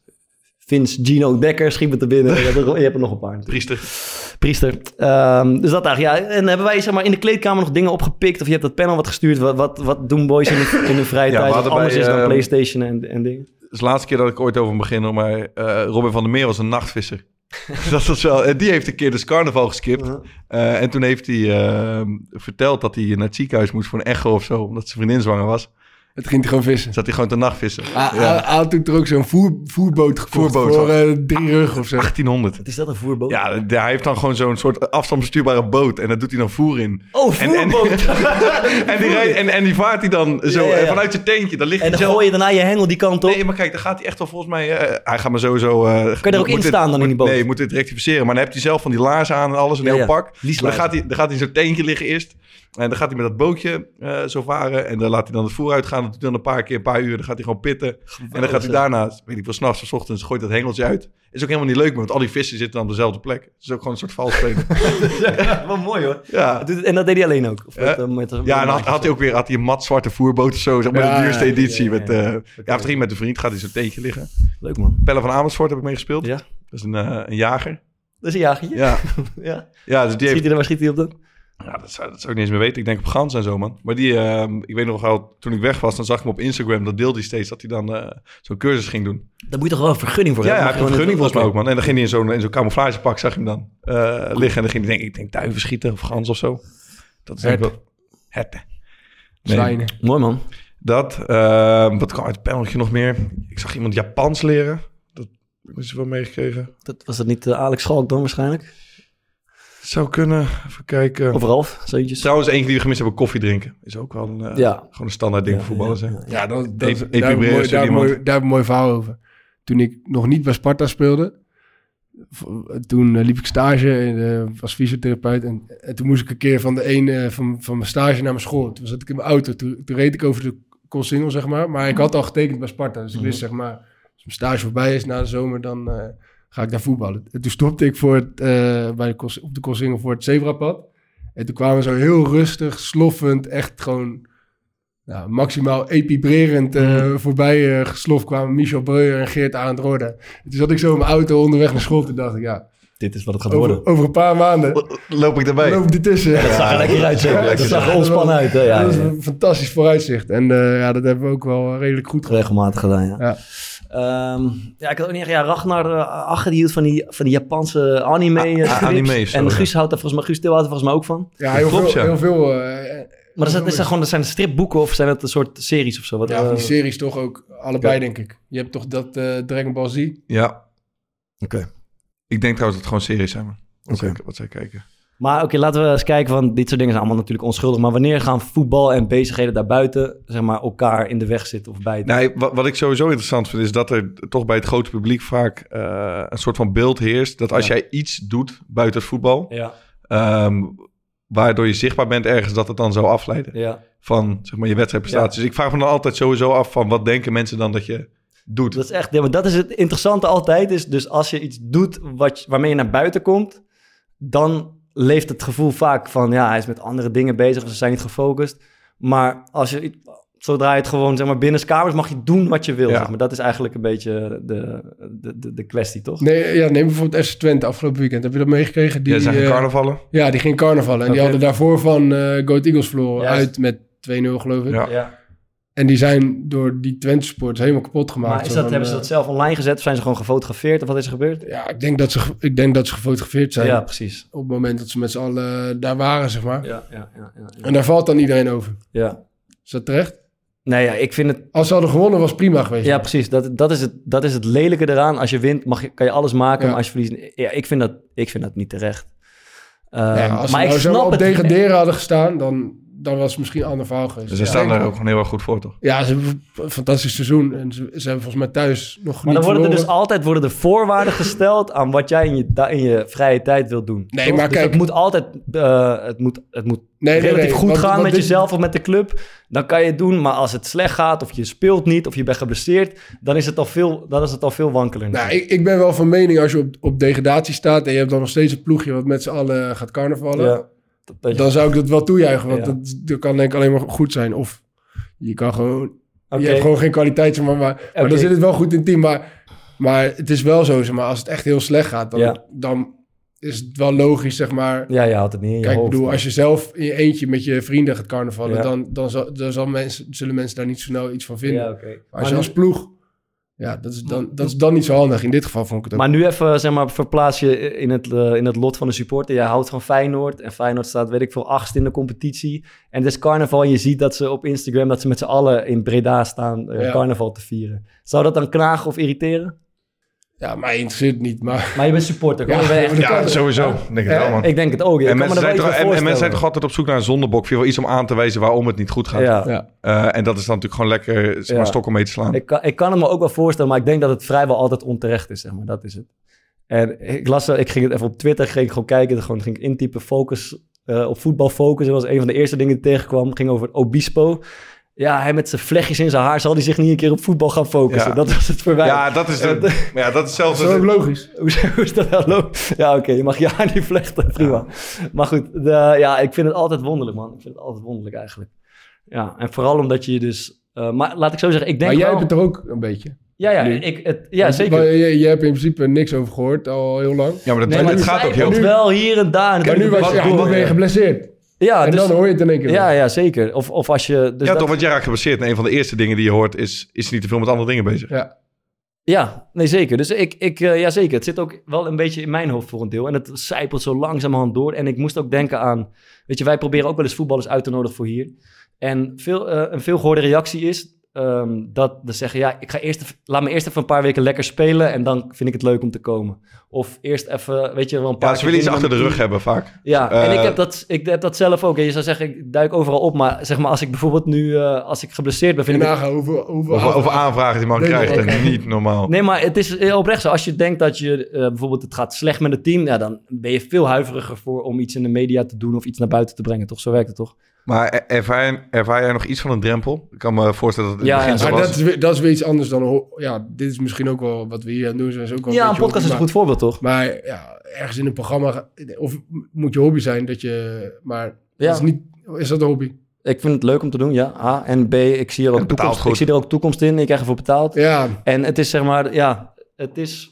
B: Vince, Gino Dekker schiet me te binnen. Je hebt er, je hebt er nog een paar. natuurlijk.
I: Priester.
B: Priester. Ehm, dus dat eigenlijk, ja. En hebben wij zeg maar, in de kleedkamer nog dingen opgepikt? Of je hebt dat panel wat gestuurd? Wat, wat, wat doen boys in hun, in hun vrije
I: Ja, we
B: tijd? Wat
I: hadden bij,
B: anders is dan
I: eh,
B: Playstation en, en dingen?
I: Het is de laatste keer dat ik ooit over hem begin, maar eh, Robin van der Meer was een nachtvisser. [laughs] dat was wel, en die heeft een keer dus carnaval geskipt.
B: Uh-huh.
I: Eh, en toen heeft hij eh, verteld dat hij naar het ziekenhuis moest voor een echo of zo, omdat zijn vriendin zwanger was.
E: Het ging hij gewoon vissen.
I: Zat hij gewoon te nachtvissen.
B: Ah,
E: Hij hij had toen er ook zo'n voer, voerboot gekocht
I: Voerboot,
E: voor
I: ja.
E: eh, drie rug of zo.
I: 1800.
B: Is dat een voerboot?
I: Ja, d- hij heeft dan gewoon zo'n soort afstandsbestuurbare boot en daar doet hij dan voer in.
B: Oh,
I: En- en-
B: voerboot!
I: [laughs] en, die rijdt, en, en die vaart hij dan zo
B: Ja, ja, ja.
I: eh, vanuit zijn teentje. Dan ligt
B: En
I: hij
B: dan
I: zelf-
B: gooi je daarna je hengel die kant op.
I: Nee, maar kijk, dan gaat hij echt wel volgens mij... eh, hij gaat maar sowieso... eh,
B: Kun je er ook
I: moet
B: in
I: dit-
B: staan dan in die boot?
I: Nee, je moet dit rectificeren. Maar dan heb hij zelf van die laarzen aan en alles, een
B: Ja,
I: heel
B: ja.
I: pak.
B: Die
I: Dan
B: sluiten.
I: gaat, hij, dan gaat hij in zo'n teentje liggen eerst. En dan gaat hij met dat bootje eh, zo varen. En dan laat hij dan het voer uitgaan. Dat doet hij dan een paar keer, een paar uur. Dan gaat hij gewoon pitten. en dan gaat hij
B: zeg.
I: daarna, weet ik wel, s'nachts of 's ochtends, gooit dat hengeltje uit. Is ook helemaal niet leuk, meer, want al die vissen zitten dan op dezelfde plek. Het is ook gewoon een soort vals
B: [laughs]
I: spelen.
B: Wat mooi hoor.
I: Ja.
B: Doet- En dat deed hij alleen ook? Of
I: Eh,
B: met, eh, met- met-
I: ja, en had, had hij ook weer had hij een mat zwarte voerboot of zo, zeg maar
B: Ja,
I: de duurste
B: ja,
I: editie.
B: ja, ja,
I: met,
B: ja.
I: eh, ja, of drie met een vriend gaat hij zo'n teentje liggen.
B: Leuk man.
I: Pelle van Amersfoort heb ik meegespeeld.
B: Ja.
I: Dat is een, eh, een jager.
B: Dat is een jagertje?
I: Ja.
B: ja.
I: Ja, dus die
B: Schiet
I: heeft,
B: hij er, waar schiet hij op dan?
I: ja dat, zou, dat zou ik niet eens meer weten. Ik denk op Gans en zo, man. Maar die, ehm, ik weet nog wel, toen ik weg was, dan zag ik hem op Instagram. Dat deelde hij steeds, dat hij dan eh, zo'n cursus ging doen.
B: Daar moet je toch wel een vergunning voor
I: ja, hij
B: hebben?
I: had een vergunning volgens mij ook,
B: Oké.
I: man. En dan ging hij in zo'n in zo'n camouflagepak, zag je hem dan eh, liggen. En dan ging hij, denk ik, ik denk duiven schieten of gans of zo. Dat is denk ik
E: Herten.
I: wel... Herten.
E: Zwijnen.
B: Mooi, man.
I: Dat. ehm, wat kwam uit het paneltje nog meer? Ik zag iemand Japans leren. Dat heb ik ze wel meegekregen.
B: Dat, was dat niet eh, Alex Schalk dan waarschijnlijk?
I: Zou kunnen. Even kijken.
B: Of Ralf, zoontjes?
I: Trouwens, eentje die we gemist hebben, koffie drinken. Is ook wel een, eh,
B: Ja.
I: gewoon een standaard ding voor voetballers. hè?
E: Ja, E- dat, dat,
I: Eep-
E: daar, heb ik
I: Epibrera
E: mooi,
I: is
E: daar, heb ik
I: iemand.
E: mooi, daar heb ik een mooi verhaal over. Toen ik nog niet bij Sparta speelde, v- toen eh, liep ik stage en eh, was fysiotherapeut. En, en toen moest ik een keer van de ene eh, van, van mijn stage naar mijn school. Toen zat ik in mijn auto, toen, toen reed ik over de Koolsingel, zeg maar. Maar ik had al getekend bij Sparta,
B: Mhm.
E: dus ik wist, zeg maar, als mijn stage voorbij is na de zomer, dan eh, ga ik daar voetballen. En toen stopte ik voor het, eh, bij de, Koolsingel- op de Koolsingel voor het Zebrapad. En toen kwamen zo heel rustig, sloffend, echt gewoon nou, maximaal epibrerend eh,
B: Mhm.
E: voorbij eh gesloft kwamen Michel Breuer en Geert aan het Rode. En Toen zat ik zo in mijn auto onderweg naar school. Toen dacht ik, ja,
B: Dit is wat het gaat worden.
E: over, over een paar maanden
I: loop ik erbij.
E: Loop ik ertussen.
B: Ja, dat zag er lekker uit, zeg. Dat zag er ontspannen uit, hè. Ja,
E: dat is
B: ja.
E: een fantastisch vooruitzicht. En eh, ja, dat hebben we ook wel eh, redelijk goed gedaan.
B: Regelmatig gedaan, ja.
E: ja.
B: Ehm, ja, ik had ook niet echt... Ja, Ragnar eh, Ache, die hield van die, van die Japanse anime eh, strips.
I: anime's,
B: En
I: oh, ja.
B: Guus houdt daar volgens mij... Guus Til houdt er volgens mij ook van.
E: Ja, heel
B: Klopt,
E: veel.
B: ja.
E: Heel veel eh,
B: Maar dat
E: heel
B: zijn,
E: veel
B: dat zijn gewoon dat zijn stripboeken of zijn dat een soort series of zo? Wat,
E: Ja, van die
B: eh,
E: series toch ook allebei,
B: Ja.
E: denk ik. Je hebt toch dat eh, Dragon Ball Z?
I: Ja. Oké.
B: Oké.
I: Ik denk trouwens dat het gewoon series zijn. man. Wat,
B: Oké.
I: zij, wat zij kijken.
B: Maar oké, laten we eens kijken, want dit soort dingen zijn allemaal natuurlijk onschuldig. Maar wanneer gaan voetbal en bezigheden daarbuiten zeg maar, elkaar in de weg zitten of bijten?
I: Nee, wat, wat Nou, ik sowieso interessant vind, is dat er toch bij het grote publiek vaak eh, een soort van beeld heerst. Dat als
B: Ja.
I: jij iets doet buiten het voetbal,
B: Ja.
I: ehm, waardoor je zichtbaar bent ergens, dat het dan zou afleiden
B: Ja.
I: van zeg maar, je wedstrijdprestaties.
B: Ja.
I: Dus ik vraag me dan altijd sowieso af van wat denken mensen dan dat je doet.
B: Dat is echt, ja, maar dat is het interessante altijd. Is dus als je iets doet wat, je- waarmee je naar buiten komt, dan leeft het gevoel vaak van ja, hij is met andere dingen bezig of ze zijn niet gefocust. Maar als je, iets- zodra je het gewoon zeg maar, binnenskamers mag je doen wat je wil.
E: Ja.
B: Zeg maar. Dat is eigenlijk een beetje de, de, de, de kwestie, toch?
E: Nee, eh, ja, neem bijvoorbeeld FC Twente afgelopen weekend. Heb je dat meegekregen? Die
I: Ja, zijn geen
E: eh,
I: carnavallen?
E: Ja, die ging carnavallen. En
I: Oké.
E: die hadden daarvoor van eh Go Ahead Eagles verloren
B: Juist.
E: uit met 2-0 geloof ik.
B: Ja. Ja.
E: En die zijn door die Twente supporters helemaal kapot gemaakt.
B: Maar is
E: Zo
B: dat,
E: van,
B: hebben ze
E: eh,
B: dat zelf online gezet of zijn ze gewoon gefotografeerd of wat is er gebeurd?
E: Ja, ik denk dat ze, ge- ik denk dat ze gefotografeerd zijn.
B: Ja, precies.
E: Op het moment dat ze met z'n allen eh, daar waren, zeg maar.
B: Ja, ja, ja, ja, ja.
E: En daar valt dan iedereen over.
B: Ja.
E: Is dat terecht?
B: Nee, ja, ik vind het...
E: Als ze hadden gewonnen, was prima geweest.
B: Ja, precies. Dat, dat, is het, dat is het lelijke eraan. Als je wint, mag je, kan je alles maken.
E: Ja.
B: Maar als je verliest... Ja, ik vind dat, ik vind dat niet terecht. Ehm,
E: Ja, als ze
B: maar ik
E: nou zo
B: snap
E: op
B: het.
E: degraderen hadden gestaan, dan, dan was het misschien een ander verhaal geweest.
I: Dus ze
E: Ja.
I: staan
E: Denk
I: daar
E: ik.
I: ook gewoon heel erg goed voor, toch?
E: Ja, ze hebben een fantastisch seizoen. En ze, ze hebben volgens mij thuis nog
B: Maar
E: niet
B: dan worden er
E: verloren.
B: dus altijd worden er
E: [laughs]
B: voorwaarden gesteld aan wat jij in je, da- in je vrije tijd wilt doen.
E: Nee,
B: Toch?
E: maar
B: Dus
E: kijk-
B: het moet altijd eh, het moet, het moet
E: Nee, nee,
B: relatief
E: nee,
B: goed
E: want-
B: gaan
E: want
B: met
E: dit-
B: jezelf of met de club. Dan kan je het doen. Maar als het slecht gaat of je speelt niet of je bent geblesseerd, dan is het al veel, dan is het al veel wankelender.
E: Nou, ik, ik ben wel van mening als je op, op degradatie staat en je hebt dan nog steeds een ploegje wat met z'n allen gaat carnavallen.
B: Ja, dat-
E: dan zou ik dat wel toejuichen, want
B: Ja.
E: dat, dat kan denk ik alleen maar goed zijn. Of je kan gewoon,
B: Oké.
E: je hebt gewoon geen kwaliteit, zeg maar, maar, maar
B: Oké.
E: dan zit het wel goed in het team. Maar, maar het is wel zo, zeg maar, als het echt heel slecht gaat, dan,
B: Ja.
E: dan is het wel logisch, zeg maar.
B: Ja, je houdt het niet in je
E: Kijk,
B: hoofd,
E: ik bedoel,
B: maar-
E: als je zelf in je eentje met je vrienden gaat carnavallen,
B: Ja.
E: dan, dan, zal, dan zal mensen, zullen mensen daar niet zo snel iets van vinden.
B: Ja, oké.
E: Maar
B: Maar
E: als je
B: nu-
E: als ploeg, ja, dat is, dan, dat is dan niet zo handig. In dit geval vond ik het ook.
B: Maar nu even, zeg maar, verplaats je in het, eh, in het lot van de supporter. Jij houdt van Feyenoord. En Feyenoord staat, weet ik veel, achtste in de competitie. En het is carnaval. En je ziet dat ze op Instagram, dat ze met z'n allen in Breda staan eh,
E: Ja.
B: carnaval te vieren. Zou dat dan knagen of irriteren?
E: Ja, mij interesseert het niet, maar...
B: Maar je bent supporter.
E: Ja,
B: hoor. Je bent echt-
I: Ja, sowieso. Ik Denk het wel, man.
B: Ik denk het ook. ja. Ik
I: En
B: kan me
I: mensen,
B: er wel
I: zijn
B: iets
I: toch,
B: bij
I: en- en, mensen zijn
B: voorstellen.
I: toch altijd op zoek naar een zondebok. Of iets om aan te wijzen waarom het niet goed gaat.
B: Ja.
I: Eh, en dat is dan natuurlijk gewoon lekker zeg maar,
B: Ja.
I: stokken mee te slaan.
B: Ik kan, ik kan het me ook wel voorstellen, maar ik denk dat het vrijwel altijd onterecht is, zeg maar. Dat is het. En ik las, wel- ik ging het even op Twitter, ging ik gewoon kijken, gewoon ging ik intypen, focus, eh, op voetbal focus. En dat was een van de eerste dingen die ik tegenkwam, ging over Obispo. Ja, hij met zijn vlechtjes in zijn haar, zal hij zich niet een keer op voetbal gaan focussen?
I: Ja.
B: Dat was het voor mij. [laughs]
I: Ja, dat is, de,
B: Eh,
I: maar ja, dat is zelfs...
E: Dat is ook logisch.
B: Hoezo is dat nou logisch? Ja, oké, je mag je haar niet vlechten, prima. Maar goed, de- ja, ik vind het altijd wonderlijk, man. Ik vind het altijd wonderlijk eigenlijk. Ja, en vooral omdat je je dus... eh, maar laat ik zo zeggen, ik denk
E: maar jij
B: wel-
E: hebt het er ook een beetje.
B: Ja, ja,
E: Nu.
B: ik, het, ja
E: Want-
B: zeker.
E: maar je, je hebt in principe niks over gehoord al heel lang.
I: Ja, maar dat,
E: Nee,
I: het
E: nu-
I: gaat ook
B: Komt
I: heel...
B: wel hier en daar. En
E: Maar nu was je, ja, nu ben je geblesseerd.
B: Ja,
E: en
B: dus-
E: dan hoor je het in één keer.
B: Ja, ja, zeker. Of, of als je... Dus
I: ja,
B: dat-
I: toch, want jij raakt gebaseerd. En een van de eerste dingen die je hoort is... is niet te veel met andere dingen bezig.
E: Ja.
B: Ja, nee, zeker. Dus ik, ik eh, ja, zeker. Het zit ook wel een beetje in mijn hoofd voor een deel. En het zijpelt zo langzamerhand door. En ik moest ook denken aan... Weet je, wij proberen ook wel eens voetballers uit te nodigen voor hier. En veel, eh, een veelgehoorde reactie is... ehm, dat ze zeggen, ja, ik ga eerst, even- laat me eerst even een paar weken lekker spelen... en dan vind ik het leuk om te komen. Of eerst even, weet je, wel een paar
I: Ja, ze willen iets
B: keer
I: achter de
B: winnen.
I: rug hebben vaak.
B: Ja, en
I: Eh,
B: ik heb, dat, ik heb dat zelf ook. En je zou zeggen, ik duik overal op. Maar zeg maar, als ik bijvoorbeeld nu, eh, als ik geblesseerd ben, vind
E: En
B: ik...
E: nagaan hoeveel, hoeveel
I: Over, over aanvragen die man
E: Nee,
I: krijgt.
E: nee, nee.
I: En niet normaal.
B: Nee, maar het is heel oprecht zo. Als je denkt dat je eh, bijvoorbeeld het gaat slecht met het team, ja, dan ben je veel huiveriger voor om iets in de media te doen of iets naar buiten te brengen. Toch? Zo werkt het toch?
I: Maar er- ervaar, ervaar jij nog iets van een drempel? Ik kan me voorstellen dat het in
B: Ja,
I: het begin
B: ja.
I: zo
E: Maar
I: was.
E: dat is, weer, dat is weer iets anders dan... een ho- Ja, dit is misschien ook wel wat we hier aan doen. zijn, Is ook wel
B: Ja, een
E: beetje
B: podcast is een
E: hobby,
B: goed voorbeeld, toch?
E: Maar maar ja, ergens in een programma... ga- Of moet je hobby zijn dat je... Maar
B: Ja.
E: dat is, niet, is dat een hobby?
B: Ik vind het leuk om te doen, ja. A. En B, ik zie er ook, toekomst, ik zie er ook toekomst in. Ik krijg ervoor betaald.
E: Ja.
B: En het is zeg maar, ja, het is...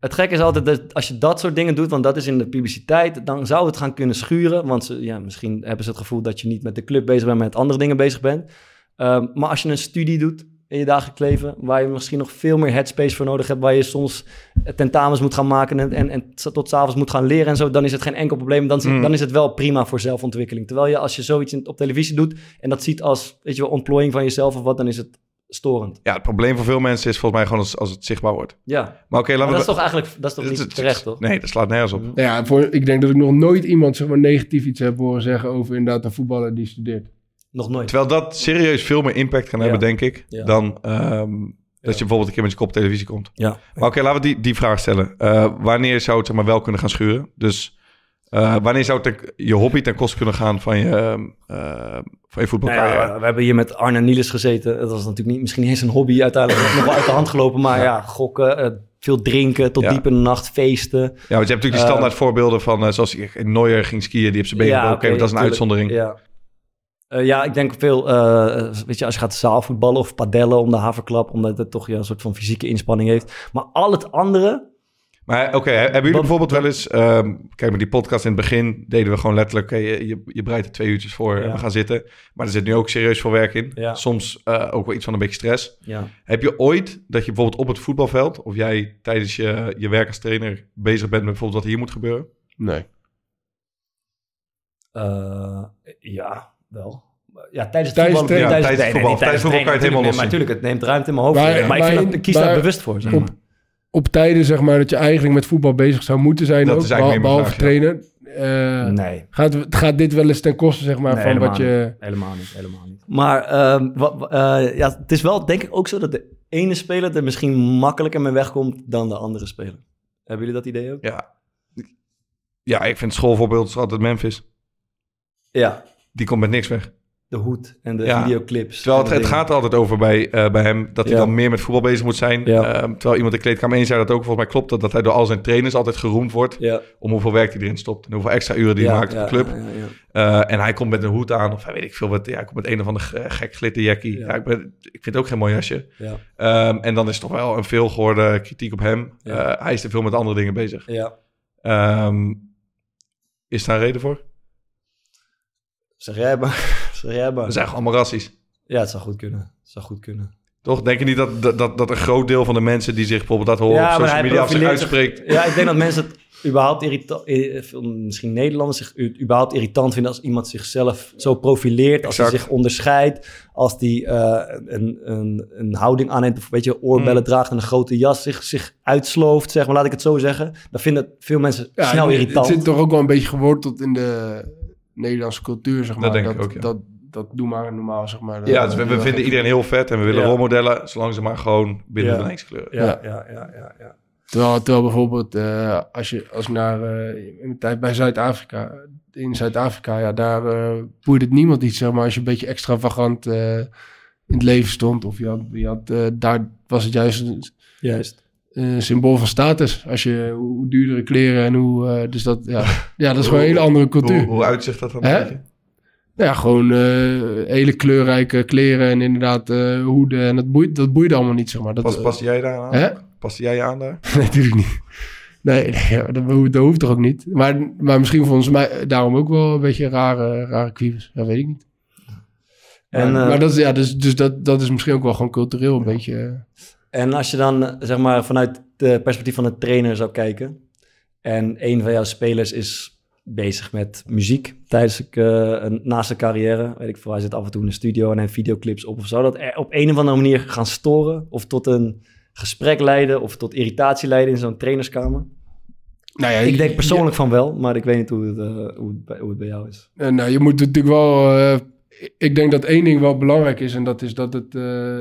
B: Het gekke is altijd dat als je dat soort dingen doet, want dat is in de publiciteit, dan zou het gaan kunnen schuren. Want ze, ja, misschien hebben ze het gevoel dat je niet met de club bezig bent, maar met andere dingen bezig bent. Ehm, maar als je een studie doet in je dagelijks leven, waar je misschien nog veel meer headspace voor nodig hebt, waar je soms tentamens moet gaan maken en, en, en tot s'avonds moet gaan leren en zo, dan is het geen enkel probleem. Dan, is-
H: Mm.
B: dan is het wel prima voor zelfontwikkeling. Terwijl je als je zoiets in- op televisie doet en dat ziet als, weet je wel, ontplooiing van jezelf of wat, dan is het storend.
I: Ja, het probleem voor veel mensen is volgens mij gewoon als, als het zichtbaar wordt.
B: Ja.
I: Maar oké, laten
B: Maar
I: we...
B: dat is toch eigenlijk dat is toch niet terecht, toch? Mhm.
I: Nee, dat slaat nergens op.
E: Nou ja, voor, ik denk dat ik nog nooit iemand zeg maar, negatief iets heb horen zeggen over inderdaad een voetballer die studeert.
B: Nog nooit.
I: Terwijl dat serieus veel meer impact kan hebben, denk ik,
B: Ja.
I: dan ehm, dat je bijvoorbeeld een keer met je kop op televisie komt.
B: Ja.
I: Maar oké, laten we die, die vraag stellen. Eh, wanneer zou het zeg maar, wel kunnen gaan schuren? Dus eh, wanneer zou het ten- je hobby ten koste kunnen gaan van je, ehm, eh, van je
B: Nou ja,
I: voetbalcarrière?
B: we hebben hier met Arne Niels gezeten. Dat was natuurlijk niet, misschien niet eens een hobby uiteindelijk. nog wel uit de hand gelopen. Maar ja, gokken, eh, veel drinken, tot
I: Ja. Dus
B: diep in de nacht, feesten. Ja, want
I: je hebt natuurlijk die standaard voorbeelden van, eh, zoals Neuer ging skiën, die heeft zijn been
B: Ja,
I: gebroken.
B: oké,
I: dat is een
B: tuurlijk.
I: uitzondering.
B: Ja. Eh, ja, ik denk veel, eh, weet je, als je gaat zaalvoetballen of padellen om de haverklap, omdat het toch ja, een soort van fysieke inspanning heeft. Maar al het andere,
I: Maar oké, he- hebben jullie bijvoorbeeld wel eens... ehm, kijk, met die podcast in het begin deden we gewoon letterlijk... oké, je, je, je breidt er twee uurtjes voor en
B: Ja.
I: we gaan zitten. Maar er zit nu ook serieus veel werk in.
B: Ja.
I: Soms eh, ook wel iets van een beetje stress.
B: Ja.
I: Heb je ooit dat je bijvoorbeeld op het voetbalveld... of jij tijdens je, je werk als trainer bezig bent met bijvoorbeeld wat hier moet gebeuren?
E: Nee.
B: eh, ja, wel. Ja, tijdens het
E: Tijdens
B: voetbal,
E: trainen.
B: nee,
E: Ja, tijdens
B: nee, nee,
E: voetbal.
B: niet
E: Tijdens voetbal kan je
B: trainen,
E: het helemaal
B: natuurlijk, nee, Maar
E: loszien.
B: natuurlijk, het neemt ruimte in mijn hoofd.
E: Maar-
B: Maar, ik, vind
E: maar-
B: dat, ik kies daar
E: maar-
B: bewust voor. Zeg maar.
E: Op, op tijden zeg maar, dat je eigenlijk met voetbal bezig zou moeten zijn,
B: Dat
E: ook,
B: is eigenlijk
E: behal-
B: meer
E: behalve trainen. eh,
B: Nee.
E: Gaat, gaat dit wel eens ten koste zeg maar,
B: Nee,
E: van wat
B: helemaal
E: je.
B: niet. Helemaal niet, helemaal niet. Maar ehm, wa- wa- eh, ja, het is wel denk ik ook zo dat de ene speler er misschien makkelijker mee wegkomt dan de andere speler. Hebben jullie dat idee ook?
I: Ja. Ja, ik vind het schoolvoorbeeld is altijd Memphis.
B: Ja.
I: Die komt met niks weg.
B: De hoed en de
I: Ja.
B: videoclips.
I: Terwijl het,
B: en de
I: het
B: dingen.
I: gaat er altijd over bij, eh, bij hem dat hij
B: Ja.
I: dan meer met voetbal bezig moet zijn. Ehm, terwijl iemand in de kleedkamer 1 zei dat ook. Volgens mij klopt dat, dat hij door al zijn trainers altijd geroemd wordt. Om hoeveel werk hij erin stopt. En hoeveel extra uren die
B: Ja,
I: hij maakt
B: ja,
I: op de club.
B: ja, ja,
I: Eh, en hij komt met een hoed aan. Of hij weet ik veel wat. Ja, hij komt met een of ander ge- gek glitterjackie. Ja. ik, ben, ik vind het ook geen mooi jasje.
B: Ja.
I: Ehm, en dan is toch wel een veelgehoorde kritiek op hem.
B: Ja.
I: Eh, hij is te veel met andere dingen bezig.
B: Ja.
I: Ehm, is daar een reden voor?
B: Zeg jij maar. [laughs] zeg jij maar.
I: We zijn gewoon allemaal rassies.
B: Ja, het zou goed kunnen. Het zou goed kunnen.
I: Toch? Denk je niet dat, dat- dat, dat een groot deel van de mensen die zich bijvoorbeeld dat horen op social media als zich
B: profileert zich-
I: uitspreekt?
B: Ja, ik denk dat mensen het überhaupt irritant... eh, Misschien Nederlanders zich u- überhaupt irritant vinden... als iemand zichzelf zo profileert. Als hij
I: Exact.
B: zich onderscheidt. Als die eh, een, een, een houding aanneemt... of weet je, oorbellen
E: Hmm.
B: draagt en een grote jas... zich, zich uitslooft, zeg maar. Laat ik het zo zeggen. Dan vinden veel mensen
E: Ja,
B: snel
E: het-
B: irritant.
E: Het zit toch ook wel een beetje geworteld in de Nederlandse cultuur, zeg
I: Dat
E: maar.
I: denk ik ook, ja.
E: dat, dat doe maar normaal, zeg maar.
I: Ja, dus we, we vinden iedereen heel vet en we willen
E: Ja.
I: rolmodellen, zolang ze maar gewoon binnen
E: Ja.
I: de lijnskleuren.
E: Ja, Ja.
B: ja, ja, ja, ja.
E: Terwijl, terwijl bijvoorbeeld, eh, als je als ik naar, eh, in mijn tijd bij Zuid-Afrika, in Zuid-Afrika, ja, daar eh boeide het niemand iets, zeg maar, als je een beetje extravagant eh, in het leven stond. Of je had, je had, eh, daar was het juist een
B: Juist.
E: een symbool van status. Als je, hoe hoe duurdere kleren en hoe, eh, dus dat,
I: [laughs]
E: ja, ja, dat is gewoon een hele andere cultuur.
I: Hoe, hoe uitzicht dat dan?
E: Hè?
I: een beetje?
E: Nou ja, gewoon eh, hele kleurrijke kleren en inderdaad eh, hoeden. En dat boeit, dat boeit allemaal niet, zeg maar. Dat, eh,
I: Pas, paste jij daar aan?
E: Hè? [laughs]
I: Paste jij je aan daar?
E: Nee, natuurlijk niet. Nee, nee, ja, dat, hoeft, dat hoeft toch ook niet. Maar, maar misschien vonden ze mij daarom ook wel een beetje rare, rare kwiebes. Dat weet ik niet.
B: En,
E: maar,
B: eh,
E: maar dat, is- ja, dus, dus dat, dat is misschien ook wel gewoon cultureel een beetje... eh,
B: En als je dan eh, zeg maar vanuit het perspectief van een trainer zou kijken. En een van jouw spelers is bezig met muziek tijdens ik, eh, een, naast zijn carrière. Weet ik veel, hij zit af en toe in de studio en neemt videoclips op of zo. Dat er op een of andere manier gaan storen. Of tot een gesprek leiden of tot irritatie leiden in zo'n trainerskamer.
E: Nou ja,
B: ik
E: je-
B: denk persoonlijk van wel, maar ik weet niet hoe het, eh, hoe het, bij, hoe het bij jou is.
E: Eh, nou, je moet natuurlijk wel. eh, ik denk dat één ding wel belangrijk is, en dat is dat het, eh,